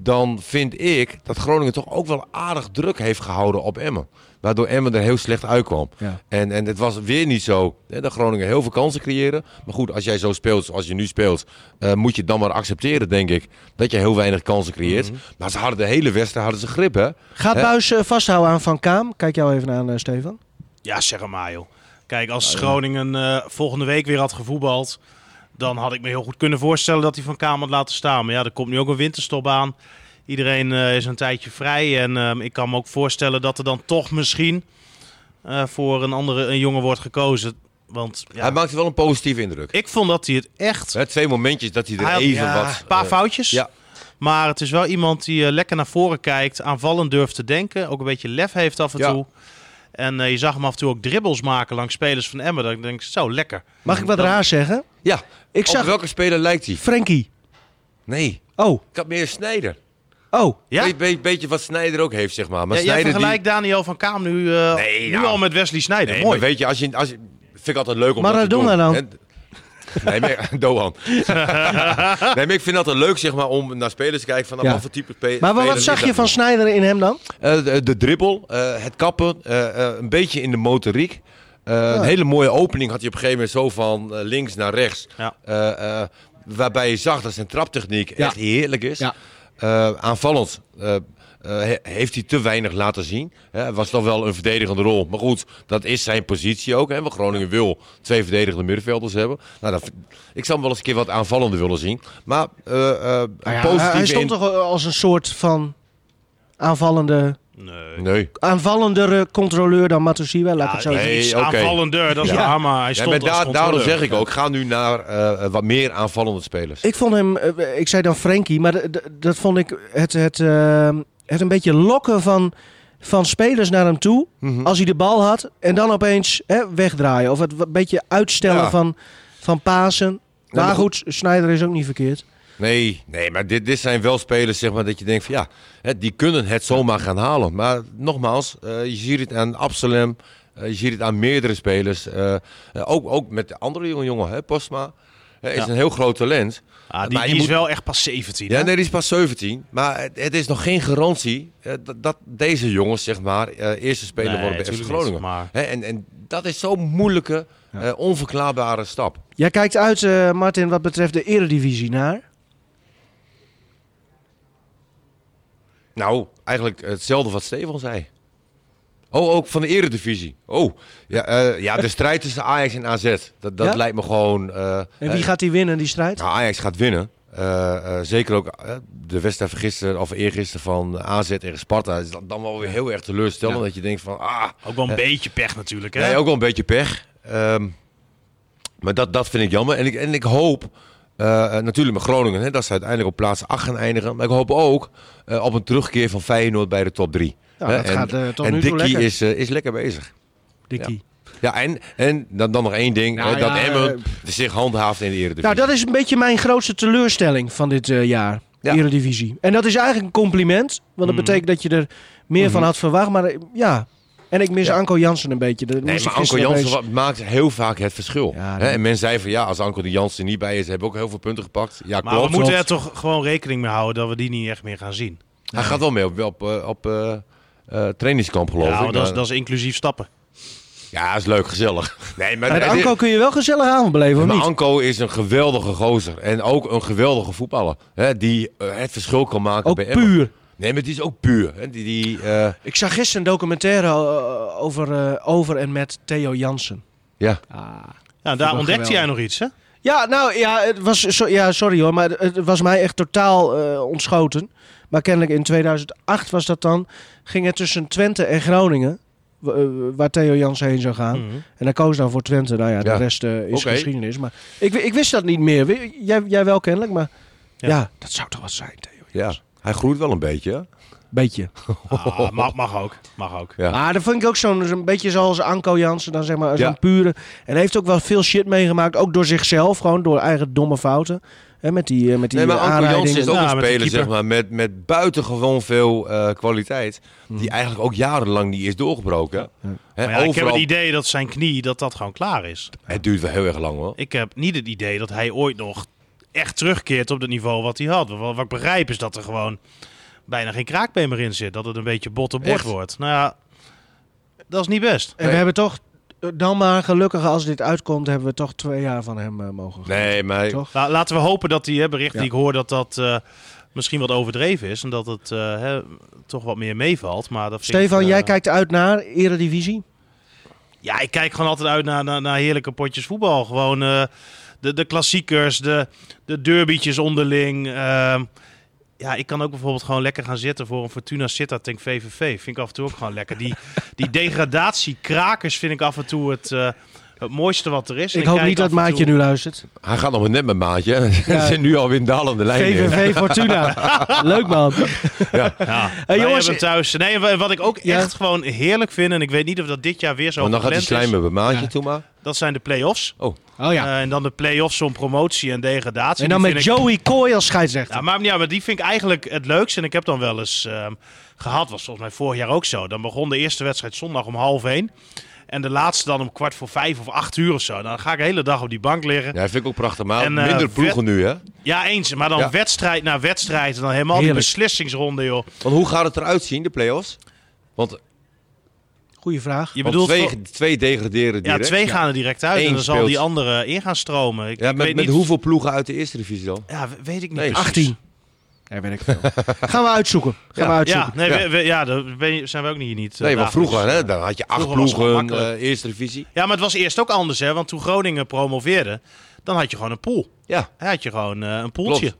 dan vind ik dat Groningen toch ook wel aardig druk heeft gehouden op Emmen. Waardoor Emmen er heel slecht uitkwam.
Ja.
En, en het was weer niet zo hè, dat Groningen heel veel kansen creëren. Maar goed, als jij zo speelt zoals je nu speelt, eh, moet je het dan maar accepteren, denk ik. Dat je heel weinig kansen creëert.
Mhm.
Maar ze hadden de hele wedstrijd hadden ze grip, hè?
Gaat
Hè?
Buis eh, vasthouden aan Van Kaam? Kijk jou even aan, eh, Stefan.
Ja, zeg hem maar, joh. Kijk, als Groningen eh, volgende week weer had gevoetbald... dan had ik me heel goed kunnen voorstellen dat hij Van Kamer had laten staan. Maar ja, er komt nu ook een winterstop aan. Iedereen eh, is een tijdje vrij. En ehm, ik kan me ook voorstellen dat er dan toch misschien... eh, voor een andere een jongen wordt gekozen. Want ja,
Hij maakte wel een positieve indruk.
ik vond dat hij het echt...
Hè, twee momentjes dat hij er
Hij had-
even
ja,
wat...
Een paar
eh,
foutjes.
Ja,
Maar het is wel iemand die eh, lekker naar voren kijkt, aanvallend durft te denken, ook een beetje lef heeft af en
Ja.
toe. En eh, je zag hem af en toe ook dribbels maken langs spelers van Emmen. Dat ik denk, zo lekker.
Mag ik wat
Dan-
raar zeggen?
ja.
Ik
Op
zag
welke speler lijkt hij?
Frenkie.
Nee,
Oh,
ik had meer Snijder.
oh.
Ja?
Be- be- beetje wat Snijder ook heeft, zeg maar. Maar
Ja, jij
Sneijder
vergelijkt Daniel van Kaam nu, eh,
Nee,
nu
nou.
al met Wesley Sneijder.
die... Nee,
Mooi.
maar weet je, als je, als je... Vind ik altijd leuk om
Maradona
dat
dan.
te doen. En- Nee, maar,
*laughs*
*laughs* Doan. nee, maar ik vind altijd leuk zeg maar, om naar spelers te kijken van
Ja.
wat voor type spe-
Maar wat- wat
spelers
zag
is
je van
dat?
Snijder in hem dan?
Eh, de, de dribbel, eh, het kappen, eh, eh, een beetje in de motoriek. Eh, Een hele mooie opening had hij op een gegeven moment zo van eh, links naar rechts.
Ja.
Eh, eh, waarbij je zag dat zijn traptechniek
Ja.
echt heerlijk is.
Ja.
Eh, aanvallend eh, eh, he- heeft hij te weinig laten zien. Hè, Het was toch wel een verdedigende rol. Maar goed, dat is zijn positie ook. Hè, want Groningen wil twee verdedigende middenvelders hebben. Nou, dat, ik zou hem wel eens een keer wat aanvallender willen zien. Maar eh, eh,
Nou ja,
positief
hij stond
in...
toch als een soort van aanvallende,
Nee.
Nee.
aanvallendere controleur dan Matusiwa, laat ik het zo
Ja,
zeggen.
nee.
iets
oké.
aanvallender, dat is
Ja.
waar, maar hij
Ja,
stond
maar
als
daar- daarom
controleur.
zeg ik ook, ga nu naar eh, wat meer aanvallende spelers.
Ik vond hem, eh, ik zei dan Frenkie, maar d- d- dat vond ik het, het, eh, het een beetje lokken van, van spelers naar hem toe.
Mhm.
Als hij de bal had en dan opeens hè, wegdraaien. Of het een beetje uitstellen
Ja.
van, van Pasen.
maar
maar goed, Snijder is ook niet verkeerd.
Nee, nee maar dit, dit zijn wel spelers zeg maar, dat je denkt van ja, hè, die kunnen het zomaar gaan halen. Maar nogmaals, eh, je ziet het aan Absalem, eh, je ziet het aan meerdere spelers. eh, eh, ook, ook met de andere jonge jongen, hè, Postma. Hè, is
Ja.
een heel groot talent.
Ah, die
Maar je
die is
moet-
wel echt pas 17.
Ja,
hè?
nee, die is pas 17. Maar het, het is nog geen garantie eh, dat, dat deze jongens, zeg maar, eh, eerste speler
Nee,
worden bij FC
tuurlijk
Groningen.
niet, maar-
Hè, en, en dat is zo'n moeilijke, eh, onverklaarbare stap.
Jij kijkt uit, eh, Martin, wat betreft de eredivisie naar.
Nou, eigenlijk hetzelfde wat Steven zei. Oh, ook van de eredivisie. Oh, ja, eh, ja de strijd tussen Ajax en AZ. Dat, dat
Ja?
lijkt me gewoon... eh,
En wie
eh,
gaat die winnen, die strijd?
nou, Ajax gaat winnen. Eh, eh, zeker ook eh, de wedstrijd van gisteren of eergisteren van AZ tegen Sparta. Is dat dan wel weer heel erg teleurstellend. Dat je denkt van, ah,
Ook wel een beetje pech natuurlijk. Hè?
Nee, ook wel een beetje pech. Ehm, maar dat, dat vind ik jammer. En ik, en ik hoop, eh, eh, natuurlijk met Groningen, hè, dat ze uiteindelijk op plaats 8 gaan eindigen. Maar ik hoop ook eh, op een terugkeer van Feyenoord bij de top 3.
Ja,
Hè,
dat
en
gaat, eh, tot
en
nu toe
Dickie
lekker.
Is, eh, is lekker bezig.
Dickie.
Ja, en, en dan, dan nog één ding.
Nou
hè, dat
ja,
Emmen zich handhaaft in de Eredivisie.
Nou, dat is een beetje mijn grootste teleurstelling van dit eh, jaar.
Ja. Mhm.
Eredivisie. En dat is eigenlijk een compliment. Want dat betekent dat je er meer van had verwacht. Maar eh, ja. En ik mis
Ja.
Anko Jansen een beetje. Dat
Nee,
moest
maar
ik
Anko
gisteren
Jansen
opeens-
wa- maakt heel vaak het verschil.
Ja,
Hè,
dat-
en men zei van ja, als Anko de Jansen niet bij is, hebben we ook heel veel punten gepakt. Ja,
maar
klopt.
we moeten er toch gewoon rekening mee houden dat we die niet echt meer gaan zien.
Hij gaat wel mee op, op, eh, op eh, eh, trainingskamp, geloof
Ja,
ik. eh.
want dat, is,
Maar-
dat is inclusief stappen.
Ja, is leuk, gezellig. Nee, maar,
Met
het is-
Anko kun je wel gezellig avond beleven, of
maar
niet?
Anko is een geweldige gozer. En ook een geweldige voetballer. Hè, die eh, het verschil kan maken
Ook
bij Emmen.
puur.
Nee, maar die is ook puur. Hè, die, die, eh,
Ik zag gisteren een documentaire eh, over, eh, over en met Theo Jansen.
ja.
Ja, Nou, daar
ik
ontdekte
geweldig.
jij nog iets, hè?
Ja, nou ja, het was, so- ja, sorry hoor, maar het- het was mij echt totaal eh, ontschoten. Maar kennelijk in 2008 was dat dan, ging het tussen Twente en Groningen, w- eh, waar Theo Jansen heen zou gaan.
Mhm.
En hij koos dan voor Twente. Nou ja, de
Ja.
rest eh, is
Oké.
geschiedenis. Maar ik, wi- ik wist dat niet meer. Wi- Jij, jij wel kennelijk, maar ja.
Ja.
dat zou toch wat zijn, Theo.
ja,
dus-
hij groeit wel een beetje. hè?
Beetje.
Ah, mag, mag ook. Mag ook.
Oh. Ja.
Maar Ah, dat vind ik ook zo'n zo'n beetje zoals Anko Jansen, dan zeg maar, zo'n
Ja.
pure. En hij heeft ook wel veel shit meegemaakt, ook door zichzelf, gewoon door eigen domme fouten. Hè, met die, eh, met die
Nee, maar
eh,
Anko
aanrijdingen.
Jansen is ook
Ja,
een
met die
speler zeg
keeper.
maar, met, met buitengewoon veel eh, kwaliteit. Die eigenlijk ook jarenlang niet is doorgebroken. Hè,
Maar Mhm. ja, ik heb
overal-
het idee dat zijn knie dat dat gewoon klaar is.
Het duurt wel heel erg lang hoor.
Ik heb niet het idee dat hij ooit nog echt terugkeert op het niveau wat hij had. Wat, wat ik begrijp is dat er gewoon bijna geen kraakbeen meer in zit. Dat het een beetje bot op bord
Echt?
wordt. Nou ja, dat is niet best.
En we hebben toch, eh, dan maar gelukkig als dit uitkomt, hebben we toch twee jaar van hem eh, mogen.
Nee, maar
Toch?
La- laten we hopen dat die hè, bericht
Ja.
die ik hoor, dat dat eh, misschien wat overdreven is. En dat het eh, hè, toch wat meer meevalt. Maar dat vind ik,
Stefan,
eh,
jij kijkt uit naar Eredivisie.
Ja, ik kijk gewoon altijd uit naar, naar, naar heerlijke potjes voetbal. Gewoon eh, de, de klassiekers, de, de derbietjes onderling. Ehm, ja, ik kan ook bijvoorbeeld gewoon lekker gaan zitten voor een Fortuna Sittard tegen VVV. Vind ik af en toe ook gewoon lekker. Die,
*laughs*
die degradatiekrakers vind ik af en toe het, eh, het mooiste wat er is. En
Ik hoop
kijk
niet
af
dat
en toe-
Maatje nu luistert.
hij gaat nog maar net met maatje. *laughs* hè. Ze
Ja.
zit nu alweer in dalende lijn. in. *laughs*
VVV Fortuna. Leuk man.
Oh *laughs* Ja,
Hey,
wij
jongens,
hebben thuis. Nee, wa- wat ik ook
Ja.
echt gewoon heerlijk vind. En ik weet niet of dat dit jaar weer zo
Want dan gaat hij
gepland is.
slijmen bij maatje toe maar.
Dat zijn de play-offs.
Oh ja.
Eh, en dan de play-offs om promotie en degradatie.
en dan
Die
met
vind ik-
Joey Kooi als scheidsrechter.
Ja, maar, ja, maar die vind ik eigenlijk het leukste. En ik heb dan wel eens ehm, gehad, was volgens mij vorig jaar ook zo. Dan begon de eerste wedstrijd zondag om half één. En de laatste dan om kwart voor vijf of acht uur of zo. Dan ga ik de hele dag op die bank liggen.
Ja,
Ja,
dat vind ik ook prachtig. Maar
En, eh,
minder ploegen nu, hè?
eens. Maar dan
Ja.
wedstrijd na wedstrijd. En dan helemaal
Heerlijk.
die beslissingsronde, joh.
Want hoe gaat het eruit zien, de play-offs? Want,
Goeie vraag.
Je
want
bedoelt...
twee,
voor-
twee degraderen
ja,
direct.
twee gaan er direct uit.
Eén
en dan zal
speelt.
die andere in gaan stromen. Ik,
Ja,
ik
met,
weet
met
niet...
hoeveel ploegen uit de eerste divisie dan?
Ja, we- weet ik niet
Nee,
precies.
18. Daar ben ik veel. Gaan we uitzoeken. Gaan
Ja.
we uitzoeken.
Ja, nee,
Ja.
We, we- ja, daar ben je- zijn we ook niet hier niet. eh,
Nee, want
dagelijks.
vroeger hè, dan had je acht
Vroeger was het
ploegen
gewoon makkelijk.
eh, eerste divisie.
Ja, maar het was eerst ook anders, hè. Want toen Groningen promoveerde, dan had je gewoon een pool.
Ja.
Hij had je gewoon eh, een poeltje.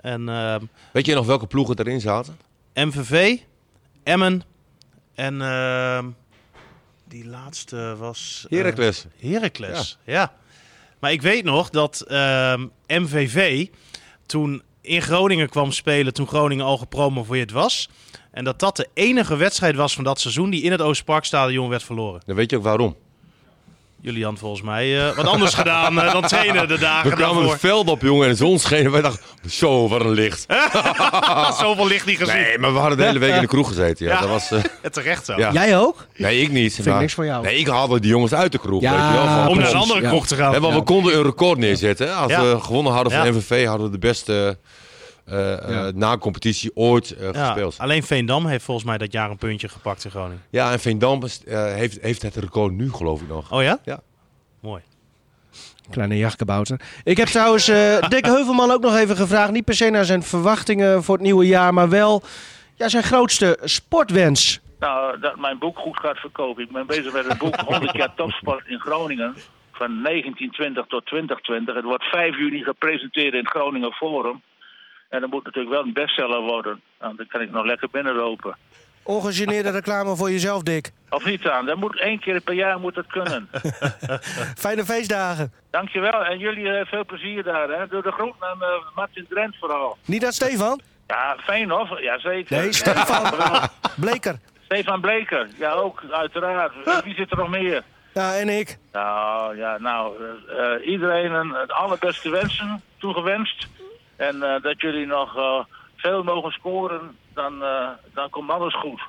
En ehm,
Weet je nog welke ploegen erin zaten?
MVV, Emmen en ehm, die laatste was... eh,
Heracles.
Heracles, ja. Maar ik weet nog dat ehm, MVV toen in Groningen kwam spelen, toen Groningen al gepromoveerd was. En dat dat de enige wedstrijd was van dat seizoen die in het Oostparkstadion werd verloren.
Dan weet je ook waarom.
Julian volgens mij eh, wat
*laughs*
anders gedaan eh, dan trainen de
We
dagen
kwamen
daarvoor.
het veld op, jongen, en de zon scheen. En wij dachten, zo, wat een licht.
*laughs* Zoveel licht niet gezien.
Nee, maar we hadden de hele week in de kroeg gezeten. Ja,
Ja.
Dat was, eh,
En Terecht zo.
ja.
Jij ook?
Nee, ik niet. Vind
ik niks van jou.
Nee, ik haalde die jongens uit de kroeg.
Ja,
weet je wel,
Om
van-
naar een
precies,
andere
ja.
kroeg te gaan.
Hè, want we konden een record neerzetten. hè. Als
Ja.
we gewonnen hadden van
Ja.
MVV, hadden we de beste eh, eh,
Ja.
na-competitie ooit eh,
Ja,
gespeeld.
alleen Veendam heeft volgens mij dat jaar een puntje gepakt in Groningen.
Ja, en Veendam is- eh, heeft, heeft het record nu, geloof ik nog.
Oh ja?
Ja.
Mooi.
Kleine jachtkabouter. Ik heb trouwens eh
*laughs*
Dick Heuvelman ook nog even gevraagd. Niet per se naar zijn verwachtingen voor het nieuwe jaar, maar wel ja, zijn grootste sportwens.
Nou, dat mijn boek goed gaat verkopen. Ik ben bezig met een boek 100 jaar topsport in Groningen. Van 1920 tot 2020. Het wordt 5 juni gepresenteerd in het Groningen Forum. En dat moet natuurlijk wel een bestseller worden. Nou, dan kan ik nog lekker binnenlopen.
Ongegeneerde reclame voor jezelf, Dick.
Of niet aan, dat moet één keer per jaar moet dat kunnen.
Fijne feestdagen.
Dankjewel en jullie eh, veel plezier daar. Hè. Doe de groet aan eh, Martin Drent vooral.
Niet aan Stefan?
Ja, fijn hoor. Ja, zeker.
Nee, Stefan.
Ja,
Bleker.
*laughs* Stefan Bleker. Ja, ook, uiteraard. En Wie zit er nog meer?
Ja, en ik.
Nou, ja, nou, eh, eh, iedereen een, het allerbeste wensen toegewenst. En eh, dat jullie nog eh, veel mogen scoren, dan, eh, dan komt alles goed.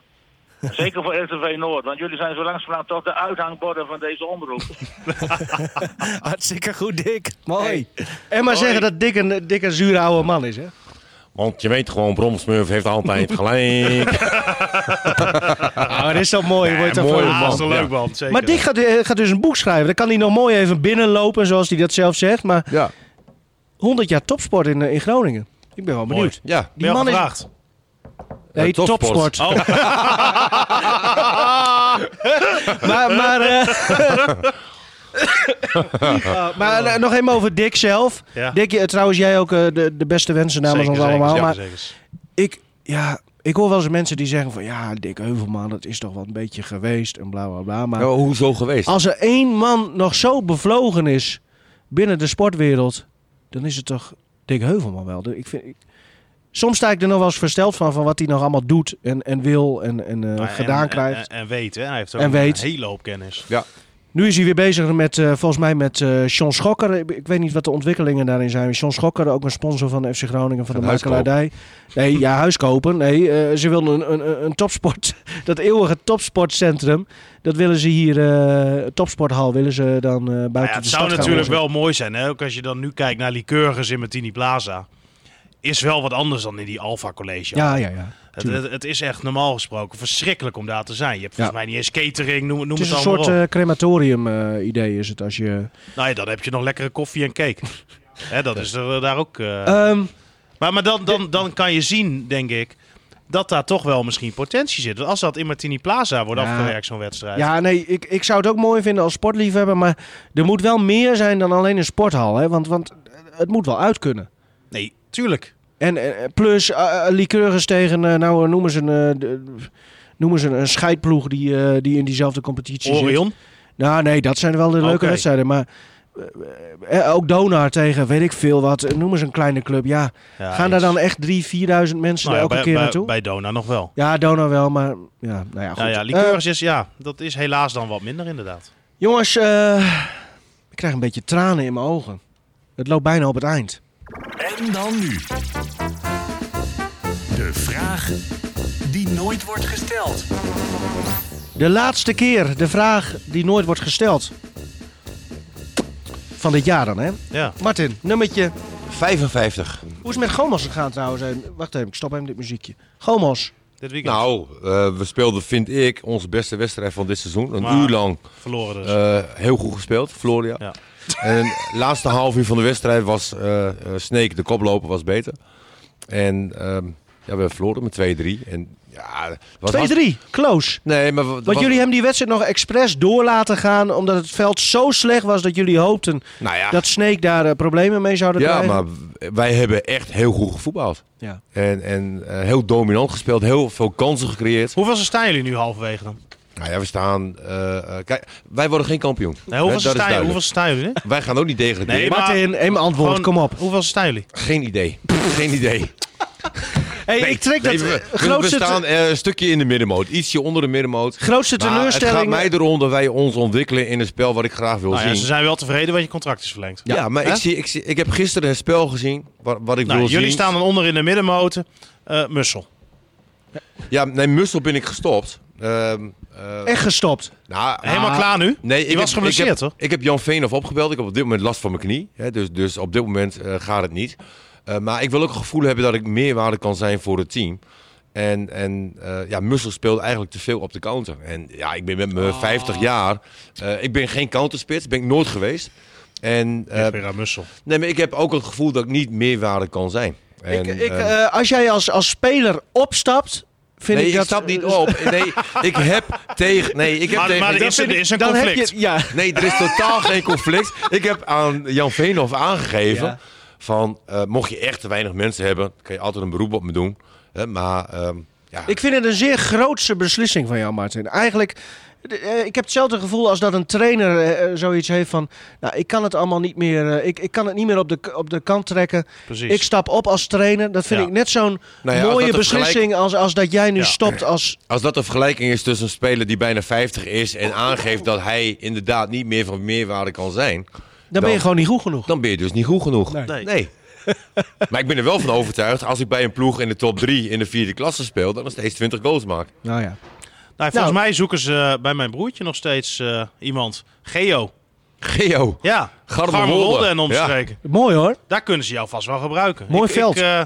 Zeker voor RTV Noord, want jullie zijn zo langzamerhand toch de uithangborden van deze omroep.
Hartstikke goed, Dick. Mooi. En maar zeggen dat Dick een, Dick een zure oude man is, hè?
Want je weet gewoon, Bromsmurf heeft *laughs* altijd gelijk.
Ah, dat is toch mooi. Wordt er
mooi,
voor-
Ah,
man.
dat is een
ja.
leuk man, zeker.
Maar Dick gaat, eh, gaat dus een boek schrijven. Dan kan hij nog mooi even binnenlopen, zoals hij dat zelf zegt. Maar
ja.
100 jaar topsport in, eh, in Groningen. Ik ben wel benieuwd.
Ja.
Ben je al
man is-
gevraagd?
Nee,
Eh,
topsport.
topsport.
Oh.
*laughs* maar maar,
*laughs*
eh, Oh, maar eh, nog even over Dick zelf.
Ja.
Dick, eh, trouwens jij ook eh, de, de beste wensen namens
Zeker,
ons
zeker,
allemaal.
zeker,
maar
zeker.
ik, ja, ik hoor wel eens mensen die zeggen van... Ja, Dick Heuvelman, dat is toch wel een beetje geweest en bla bla bla. Maar
Oh,
Nou, hoezo geweest?
als er één man nog zo bevlogen is binnen de sportwereld... dan is het toch Dick Heuvelman wel. Ik vind... ik- Soms sta ik er nog wel eens versteld van, van wat hij nog allemaal doet en, en wil en, en eh,
Maar en-
gedaan
Nou en-
krijgt.
En, en weet, hè. Hij heeft ook
En
een
weet.
hele hoop kennis.
Ja.
Nu is hij weer bezig met, eh, volgens mij, met eh Sean Schokker. Ik, ik weet niet wat de ontwikkelingen daarin zijn. Sean Schokker, ook een sponsor van FC Groningen, van de
Van huiskoop.
makelaardij. Nee, ja, huiskopen. Nee, eh, ze wilden een, een- een, een topsport, *laughs* dat eeuwige topsportcentrum. Dat willen ze hier, eh, topsporthal, willen ze dan eh, buiten
Nou ja,
de
het
stad
zou
gaan
natuurlijk
organiseren.
wel mooi zijn, hè? ook als je dan nu kijkt naar Lycurgus in Martini Plaza. Is wel wat anders dan in die Alpha College.
Ja, ja, ja.
het, het, het is echt normaal gesproken verschrikkelijk om daar te zijn. Je hebt volgens mij niet eens catering, noem, noem
Het
het,
is een
allemaal
soort eh,
op.
crematorium-idee is het als je...
Nou ja, dan heb je nog lekkere koffie en
*laughs*
cake. hè, dat is er eh, daar ook... eh,
Ehm,
Maar, maar dan, dan, dan kan je zien, denk ik, dat daar toch wel misschien potentie zit. Want als dat in Martini Plaza wordt
Ja.
afgewerkt, zo'n wedstrijd.
Ja, nee, ik, ik zou het ook mooi vinden als sportliefhebber. Maar er moet wel meer zijn dan alleen een sporthal. Hè? Want, want het moet wel uit kunnen.
Nee, tuurlijk.
En eh, plus eh eh, Lycurgus tegen, eh, nou eh, noemen ze een, eh, de- noemen ze een, een scheidploeg die, eh, die in diezelfde competitie zit.
Orion.
Nou nee, dat zijn wel de leuke
Oké.
wedstrijden. Maar eh, eh, ook Donar tegen weet ik veel wat. eh, Noemen ze een kleine club. Ja,
Ja,
gaan daar
eens.
dan echt drie, vierduizend mensen
Nou ja,
er elke
bij,
keer
bij,
naartoe?
Bij Dona nog wel.
Ja, Donar wel, maar ja, nou ja, goed.
Nou ja,
Eh,
Lycurgus is, ja, dat is helaas dan wat minder inderdaad.
Jongens, eh, ik krijg een beetje tranen in mijn ogen. Het loopt bijna op het eind.
En dan nu. De vraag die nooit wordt gesteld.
De laatste keer de vraag die nooit wordt gesteld. Van dit jaar dan, hè?
Ja.
Martin, nummertje.
55.
Hoe is het met Gomos gegaan trouwens? En- Wacht even, ik stop even dit muziekje. Gomos.
Dit weekend
Nou, eh, we speelden, vind ik, onze beste wedstrijd van dit seizoen. Een
Maar-
uur lang
verloren dus.
eh, heel goed gespeeld, Floria.
Ja.
En de laatste half uur van de wedstrijd was eh eh, Snake, de koploper, was beter. En ehm, ja, we verloren met 2-3. En ja, het was hartst-
2-3, close.
Nee, maar... wa-
Want
was-
jullie hebben die wedstrijd nog expres door laten gaan... omdat het veld zo slecht was dat jullie hoopten...
Nou ja,
dat Snake daar eh, problemen mee zouden
ja
krijgen.
maar wij hebben echt heel goed gevoetbald.
Ja.
En, en eh, heel dominant gespeeld, heel veel kansen gecreëerd.
Hoeveel staan jullie nu halverwege dan?
Nou ja, we staan... eh, eh, kijk, wij worden geen kampioen.
Nee, hoeveel,
Hè, dat is
staan,
duidelijk.
hoeveel staan jullie? nu?
Wij gaan ook niet degraderen.
Nee, maar-
Martin, één antwoord,
Gewoon-
Oh, kom op.
Hoeveel staan jullie?
Geen idee. Geen
*laughs*
idee.
Hey, ik trek dat
Nee, we,
eh,
we- we
grootste...
staan eh, een stukje in de middenmoot. Ietsje onder de middenmoot.
Grootste
Maar
teleurstelling.
het gaat mij erom dat wij ons ontwikkelen in een spel wat ik graag wil
Nou ja,
zien.
ze zijn wel tevreden, want je contract is verlengd.
Ja, maar
Hè?
ik, zie, ik, zie, ik heb gisteren een spel gezien wat, wat ik
Nou,
wil
jullie
zien.
staan dan onder in de middenmoten. Eh, Mussel.
Ja, nee, Mussel ben ik gestopt. Ehm, eh,
Echt gestopt.
nou,
Helemaal
ah,
klaar nu?
Nee,
Die
ik
was
heb-
geblesseerd,
ik heb,
toch?
Ik heb Jan Veenhoff opgebeld. Ik heb op dit moment last van mijn knie. Hè, dus, dus op dit moment eh, gaat het niet. Eh, maar ik wil ook een gevoel hebben dat ik meerwaarde kan zijn voor het team. En, en eh, ja, Mussel speelt eigenlijk te veel op de counter. En ja, ik ben met mijn 50 jaar. eh, ik ben geen counterspits, ben ik nooit geweest. En eh,
weer aan Mussel.
nee, maar ik heb ook het gevoel dat ik niet meerwaarde kan zijn. En,
ik, ik,
eh,
eh, als jij als, als speler opstapt, vind
nee,
ik
ik,
dat...
stap niet op. Nee, ik heb tegen. Nee, ik heb
Maar,
tegen.
maar er
dat
is,
vind
er
ik-
is een
dan
conflict.
Heb je, ja.
Nee, er is totaal geen conflict. Ik heb aan Jan Veenhoff aangegeven
Ja.
van, eh, mocht je echt te weinig mensen hebben, kan je altijd een beroep op me doen. Hè, maar ehm, ja,
Ik vind het een zeer grootse beslissing van jou, Martin. Eigenlijk, d- eh, ik heb hetzelfde gevoel als dat een trainer eh, eh, zoiets heeft van... Nou, ik kan het allemaal niet meer... eh, ik, ik kan het niet meer op de, k- op de kant trekken.
Precies.
Ik stap op als trainer. Dat vind
Ja.
ik net zo'n
Nou ja, als
mooie
dat een
beslissing als, als dat jij nu
Ja.
stopt als...
als dat de vergelijking is tussen een speler die bijna 50 is en aangeeft dat hij inderdaad niet meer van meerwaarde kan zijn,
Dan, ben je
Dan-
gewoon niet goed genoeg.
dan ben je dus niet goed genoeg.
Nee.
Nee.
maar ik ben er wel van overtuigd, als ik bij een ploeg in de top 3 in de vierde klasse speel, dan nog steeds 20 goals maak.
Nou ja.
Nou, volgens mij zoeken ze eh, bij mijn broertje nog steeds eh, iemand. Geo.
Geo.
Ja.
Garmerwolde.
Garmerwolde en omstreken.
Mooi hoor.
Daar kunnen ze jou vast wel gebruiken.
Mooi
Ik- ik,
veld.
eh,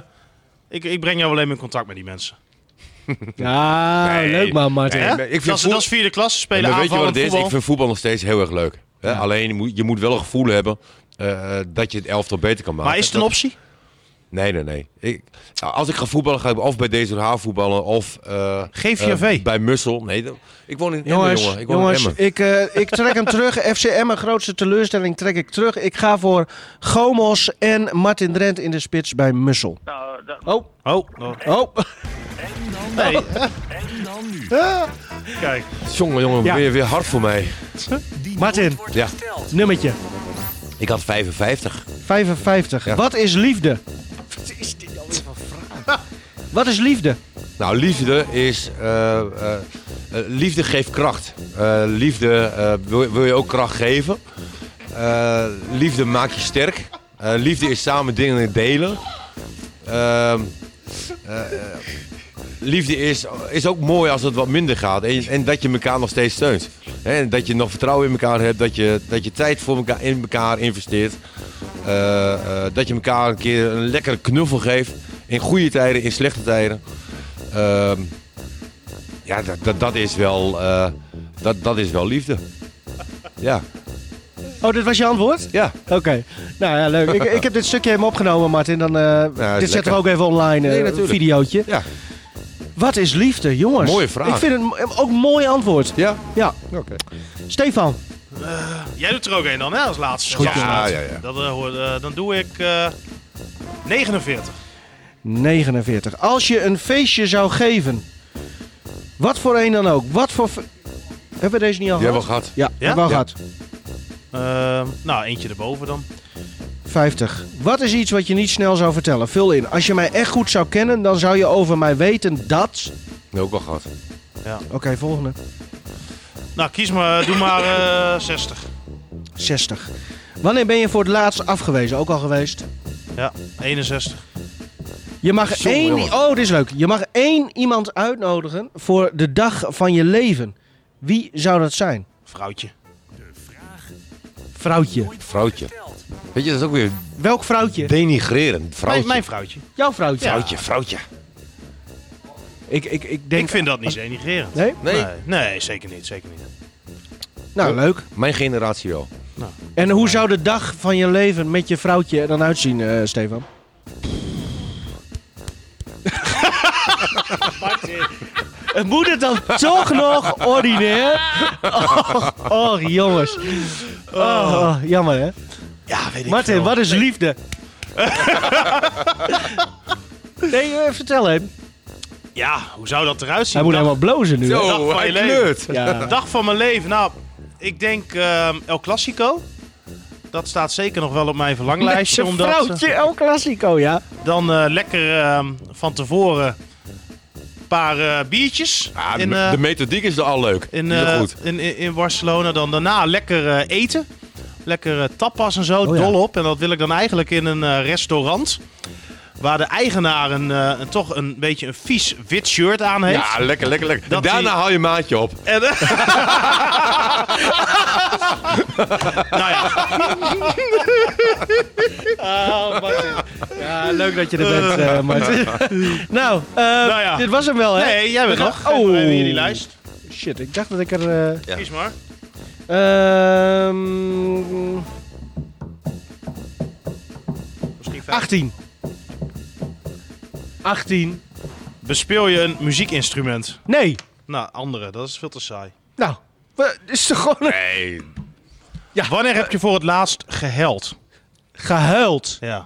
ik, ik breng jou alleen maar in contact met die mensen.
Ja,
*laughs* Nee.
leuk man, Martin.
Hè?
maar ik vind
dat, ze,
voet-
dat is vierde klasse spelen.
maar weet je wat het
aanvallend
is? Ik
voetbal.
vind voetbal nog steeds heel erg leuk. Hè? Alleen je moet, je moet wel een gevoel hebben eh, dat je het elftal beter kan maken.
Maar is het een
Dat-
optie?
Nee, nee, nee. Ik, als ik ga voetballen, ga ik of bij DZH voetballen of eh,
GVV.
eh, bij Mussel. Nee, dat- ik woon in Emmen,
Jongens,
jongen. Ik woon
jongens
in Emmen.
ik, eh, ik trek hem terug. *laughs* FC Emmen, grootste teleurstelling, trek ik terug. Ik ga voor Gomos en Martin Drent in de spits bij Mussel.
Nou, dat,
Oh,
Oh,
oh.
nee.
En dan nu.
Kijk.
Jongen, jongen,
Ja.
ben je weer hard voor mij.
Die
Martin.
nooit wordt
Ja.
gesteld.
*laughs* Nummertje
Ik had 55.
55.
Ja.
Wat is liefde? Wat is dit alweer van vraag? Wat is liefde?
Nou, liefde is. eh, eh, eh, liefde geeft kracht. Eh, liefde eh, wil, wil je ook kracht geven. Eh, liefde maakt je sterk. Eh, liefde is samen dingen delen. Ehm, eh, eh, liefde is, is ook mooi als het wat minder gaat. En, en dat je elkaar nog steeds steunt. Hè, En dat je nog vertrouwen in elkaar hebt. Dat je, dat je tijd voor elkaar, in elkaar investeert. Eh, eh, dat je elkaar een keer een lekkere knuffel geeft. In goede tijden, in slechte tijden. Ehm, ja, dat, dat, dat, is wel, eh, dat, dat is wel liefde. Ja,
Oh, dit was je antwoord?
ja.
Oké. Nou ja, leuk. Ik, ik heb dit stukje helemaal opgenomen, Martin. Dan, eh, dit zetten
lekker.
we ook even online, eh,
Nee,
een
natuurlijk.
videootje.
Ja.
Wat is liefde, jongens?
Mooie vraag.
Ik vind het mo- ook een mooi antwoord.
Ja?
Ja.
Oké.
Stefan,
Jij doet er ook een dan, hè, als laatste.
goed,
Als
ja.
laatste.
Ja, ja, ja.
Dat, eh, hoor- eh, dan doe ik eh, 49.
49. Als je een feestje zou geven, wat voor een dan ook, wat voor... fe- Hebben we deze niet al
Die hebben we
gehad?
gehad.
Ja, hebben we al
Ja.
gehad.
Eh, nou, eentje erboven dan.
50. Wat is iets wat je niet snel zou vertellen? Vul in. Als je mij echt goed zou kennen, dan zou je over mij weten dat...
Nee, ook al gehad.
Oké, volgende.
Nou, kies maar. Doe maar eh, 60.
60. Wanneer ben je voor het laatst afgewezen? Ook al geweest.
Ja, 61.
Je mag
Jongen,
één.
jongen.
Oh, dit is leuk. Je mag één iemand uitnodigen voor de dag van je leven. Wie zou dat zijn?
Vrouwtje.
Vrouwtje.
Vrouwtje. Weet je, dat is ook weer
Welk vrouwtje?
denigrerend. Vrouwtje.
Mijn, mijn vrouwtje.
Jouw vrouwtje.
Vrouwtje, vrouwtje.
Ik, ik, ik denk.
Ik vind dat niet denigrerend.
Nee?
Nee.
nee? Nee, zeker niet. Zeker niet.
Nou, leuk.
Mijn generatie wel.
En hoe zou de dag van je leven met je vrouwtje er dan uitzien, eh, Stefan? Het *laughs* Moet het dan toch nog ordinair? Oh, oh, jongens. Oh, jammer hè.
Ja, weet ik
Martin,
veel.
wat is
*laughs*
liefde? nee, eh, vertel hem.
Ja, hoe zou dat eruit zien?
Hij moet
Dag-
helemaal blozen nu. hè?
dag van je leven.
Ja.
Dag van mijn leven. Nou, ik denk ehm, El Clasico. Dat staat zeker nog wel op mijn
*laughs*
verlanglijstje.
Met zijn
omdat, eh,
vrouwtje, El Clasico, ja.
dan eh, lekker ehm, van tevoren een paar eh, biertjes.
Ah, de,
in, eh,
de methodiek is al leuk.
in,
Heel
eh,
goed.
in, in, in Barcelona. Dan daarna lekker eh, eten. Lekker eh, tapas en zo,
Oh ja.
dol op. En dat wil ik dan eigenlijk in een eh, restaurant. Waar de eigenaar een, eh, een- toch een beetje een vies wit shirt aan heeft.
Ja, lekker, lekker, lekker.
Dat
Daarna
die-
haal je maatje op.
En, eh, nou ja,
Ja, leuk dat je er bent,
*laughs*
eh, Martin. nou, eh,
ja.
dit was hem wel, hè?
nee, jij bent
We gaan-
nog. Oh. We hebben hier die lijst.
Shit, ik dacht dat ik er... eh
Ja.
Kies maar.
ehm,
Misschien vijf.
18. 18.
Bespeel je een muziekinstrument?
Nee.
Nou, andere. Dat is veel te saai.
Nou, we- dit is toch gewoon een-
Nee.
Wanneer heb je voor het laatst gehuild?
gehuild.
Ja.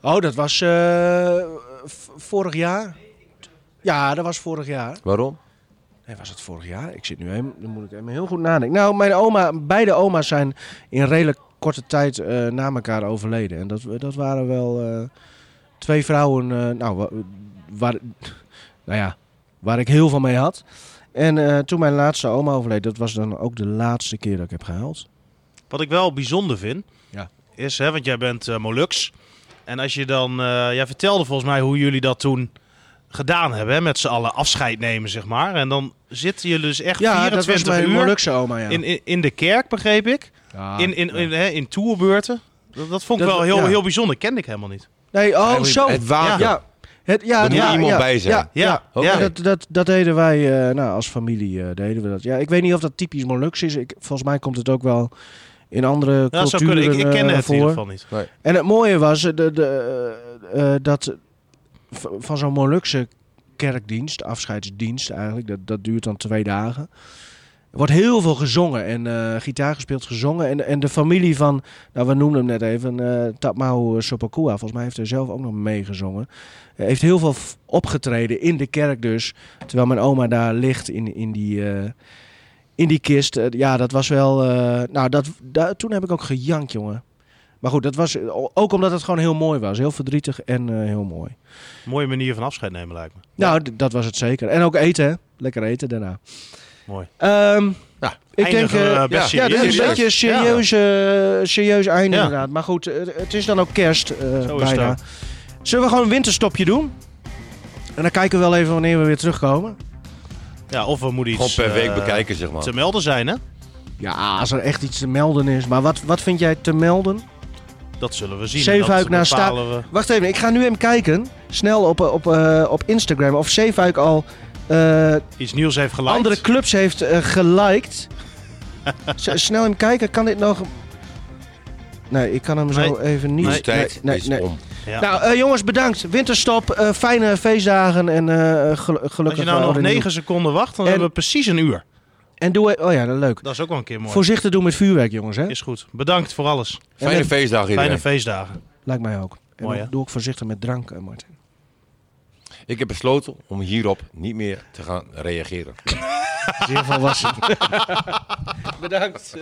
Oh, dat was eh, v- vorig jaar. Ja, dat was vorig jaar.
Waarom?
Nee, was het vorig jaar? Ik zit nu even, dan moet ik even heel goed nadenken. Nou, mijn oma, beide oma's zijn in redelijk korte tijd eh, na elkaar overleden. En dat, dat waren wel eh, twee vrouwen, eh, nou, wa- waar, nou ja, waar ik heel veel mee had. En eh, toen mijn laatste oma overleed, dat was dan ook de laatste keer dat ik heb gehuild.
Wat ik wel bijzonder vind,
Ja.
is, hè, want jij bent eh Molux. En als je dan, eh, jij vertelde volgens mij hoe jullie dat toen gedaan hebben, hè, met z'n allen afscheid nemen, zeg maar. En dan zitten jullie dus echt
Ja, dat was
24
mijn
uur
Molukse oma, ja.
in, in, in de kerk, begreep ik.
Ah, Ja.
in, in, in, hè, in tourbeurten. Dat, dat vond ik
Dat-
wel heel,
ja.
heel bijzonder, kende ik helemaal niet.
Nee, oh,
Eigenlijk
zo.
het waken.
Ja. Het, ja,
Er moet
ja,
iemand
ja,
bij zijn.
Ja, ja.
Ja,
Ja,
oké.
dat, dat, dat deden wij eh, nou, als familie. eh, deden we dat. Ja, ik weet niet of dat typisch Molux is. Ik, volgens mij komt het ook wel in andere
Ja, dat zou
culturen
kunnen. Ik, ik kende
eh,
het
voor.
in ieder geval niet.
En het mooie was eh, de, de, eh, eh, dat v- van zo'n Molukse kerkdienst, afscheidsdienst eigenlijk, dat, dat duurt dan twee dagen. Er wordt heel veel gezongen en eh, gitaar gespeeld, gezongen. En, en de familie van, nou we noemden hem net even, eh Tapmau Sopakua, volgens mij heeft hij zelf ook nog meegezongen. Eh, heeft heel veel f- opgetreden in de kerk dus, terwijl mijn oma daar ligt in, in die... eh, in die kist, Eh, ja, dat was wel. eh, nou, dat, da- toen heb ik ook gejankt, jongen. Maar goed, dat was eh, o- ook omdat het gewoon heel mooi was. Heel verdrietig en eh, heel mooi.
Mooie manier van afscheid nemen lijkt me.
Nou, d- dat was het zeker. En ook eten, hè. Lekker eten daarna.
Mooi.
Ehm,
Ja,
ik
Eindigen
denk... eh,
we best
ja, dit
serieus.
is een beetje een serieus, eh, serieus einde
Ja.
inderdaad. Maar goed, eh, het is dan ook kerst eh,
Zo is
bijna.
dat.
Zullen we gewoon een winterstopje doen? En dan kijken we wel even wanneer we weer terugkomen.
Ja, of we moeten
Gewoon
iets
per week
eh,
bekijken, zeg maar.
te melden zijn, hè?
Ja, als er echt iets te melden is. Maar wat, wat vind jij te melden?
Dat zullen we zien.
Zeefuik
Dat
naar Sta-
bepalen we.
Wacht even, ik ga nu even kijken. Snel op, op, eh, op Instagram. Of Zeefuik al eh,
Iets nieuws heeft geliked.
andere clubs heeft eh, geliked.
*laughs*
Z- snel even kijken, kan dit nog... Nee, ik kan hem zo
Nee.
even niet...
Dus
Nee,
tijd
nee,
is
nee.
om.
Ja.
Nou, eh, jongens, bedankt. Winterstop, eh, fijne feestdagen en eh, gel-
Als
gelukkig...
je nou
eh,
nog
oud en nieuw.
9 seconden wacht, dan
En-
hebben we precies een uur.
En doe... Oh ja, dat is leuk.
Dat is ook wel een keer mooi.
Voorzichtig doen met vuurwerk, jongens, hè?
Is goed. Bedankt voor alles.
Fijne
En-
feestdag iedereen.
Fijne feestdagen.
Lijkt mij ook. En
Mooi,
dan
hè?
doe ik voorzichtig met drank, eh,
*laughs*
Martin.
Ik heb besloten om hierop niet meer te gaan reageren.
Zeer volwassen. bedankt.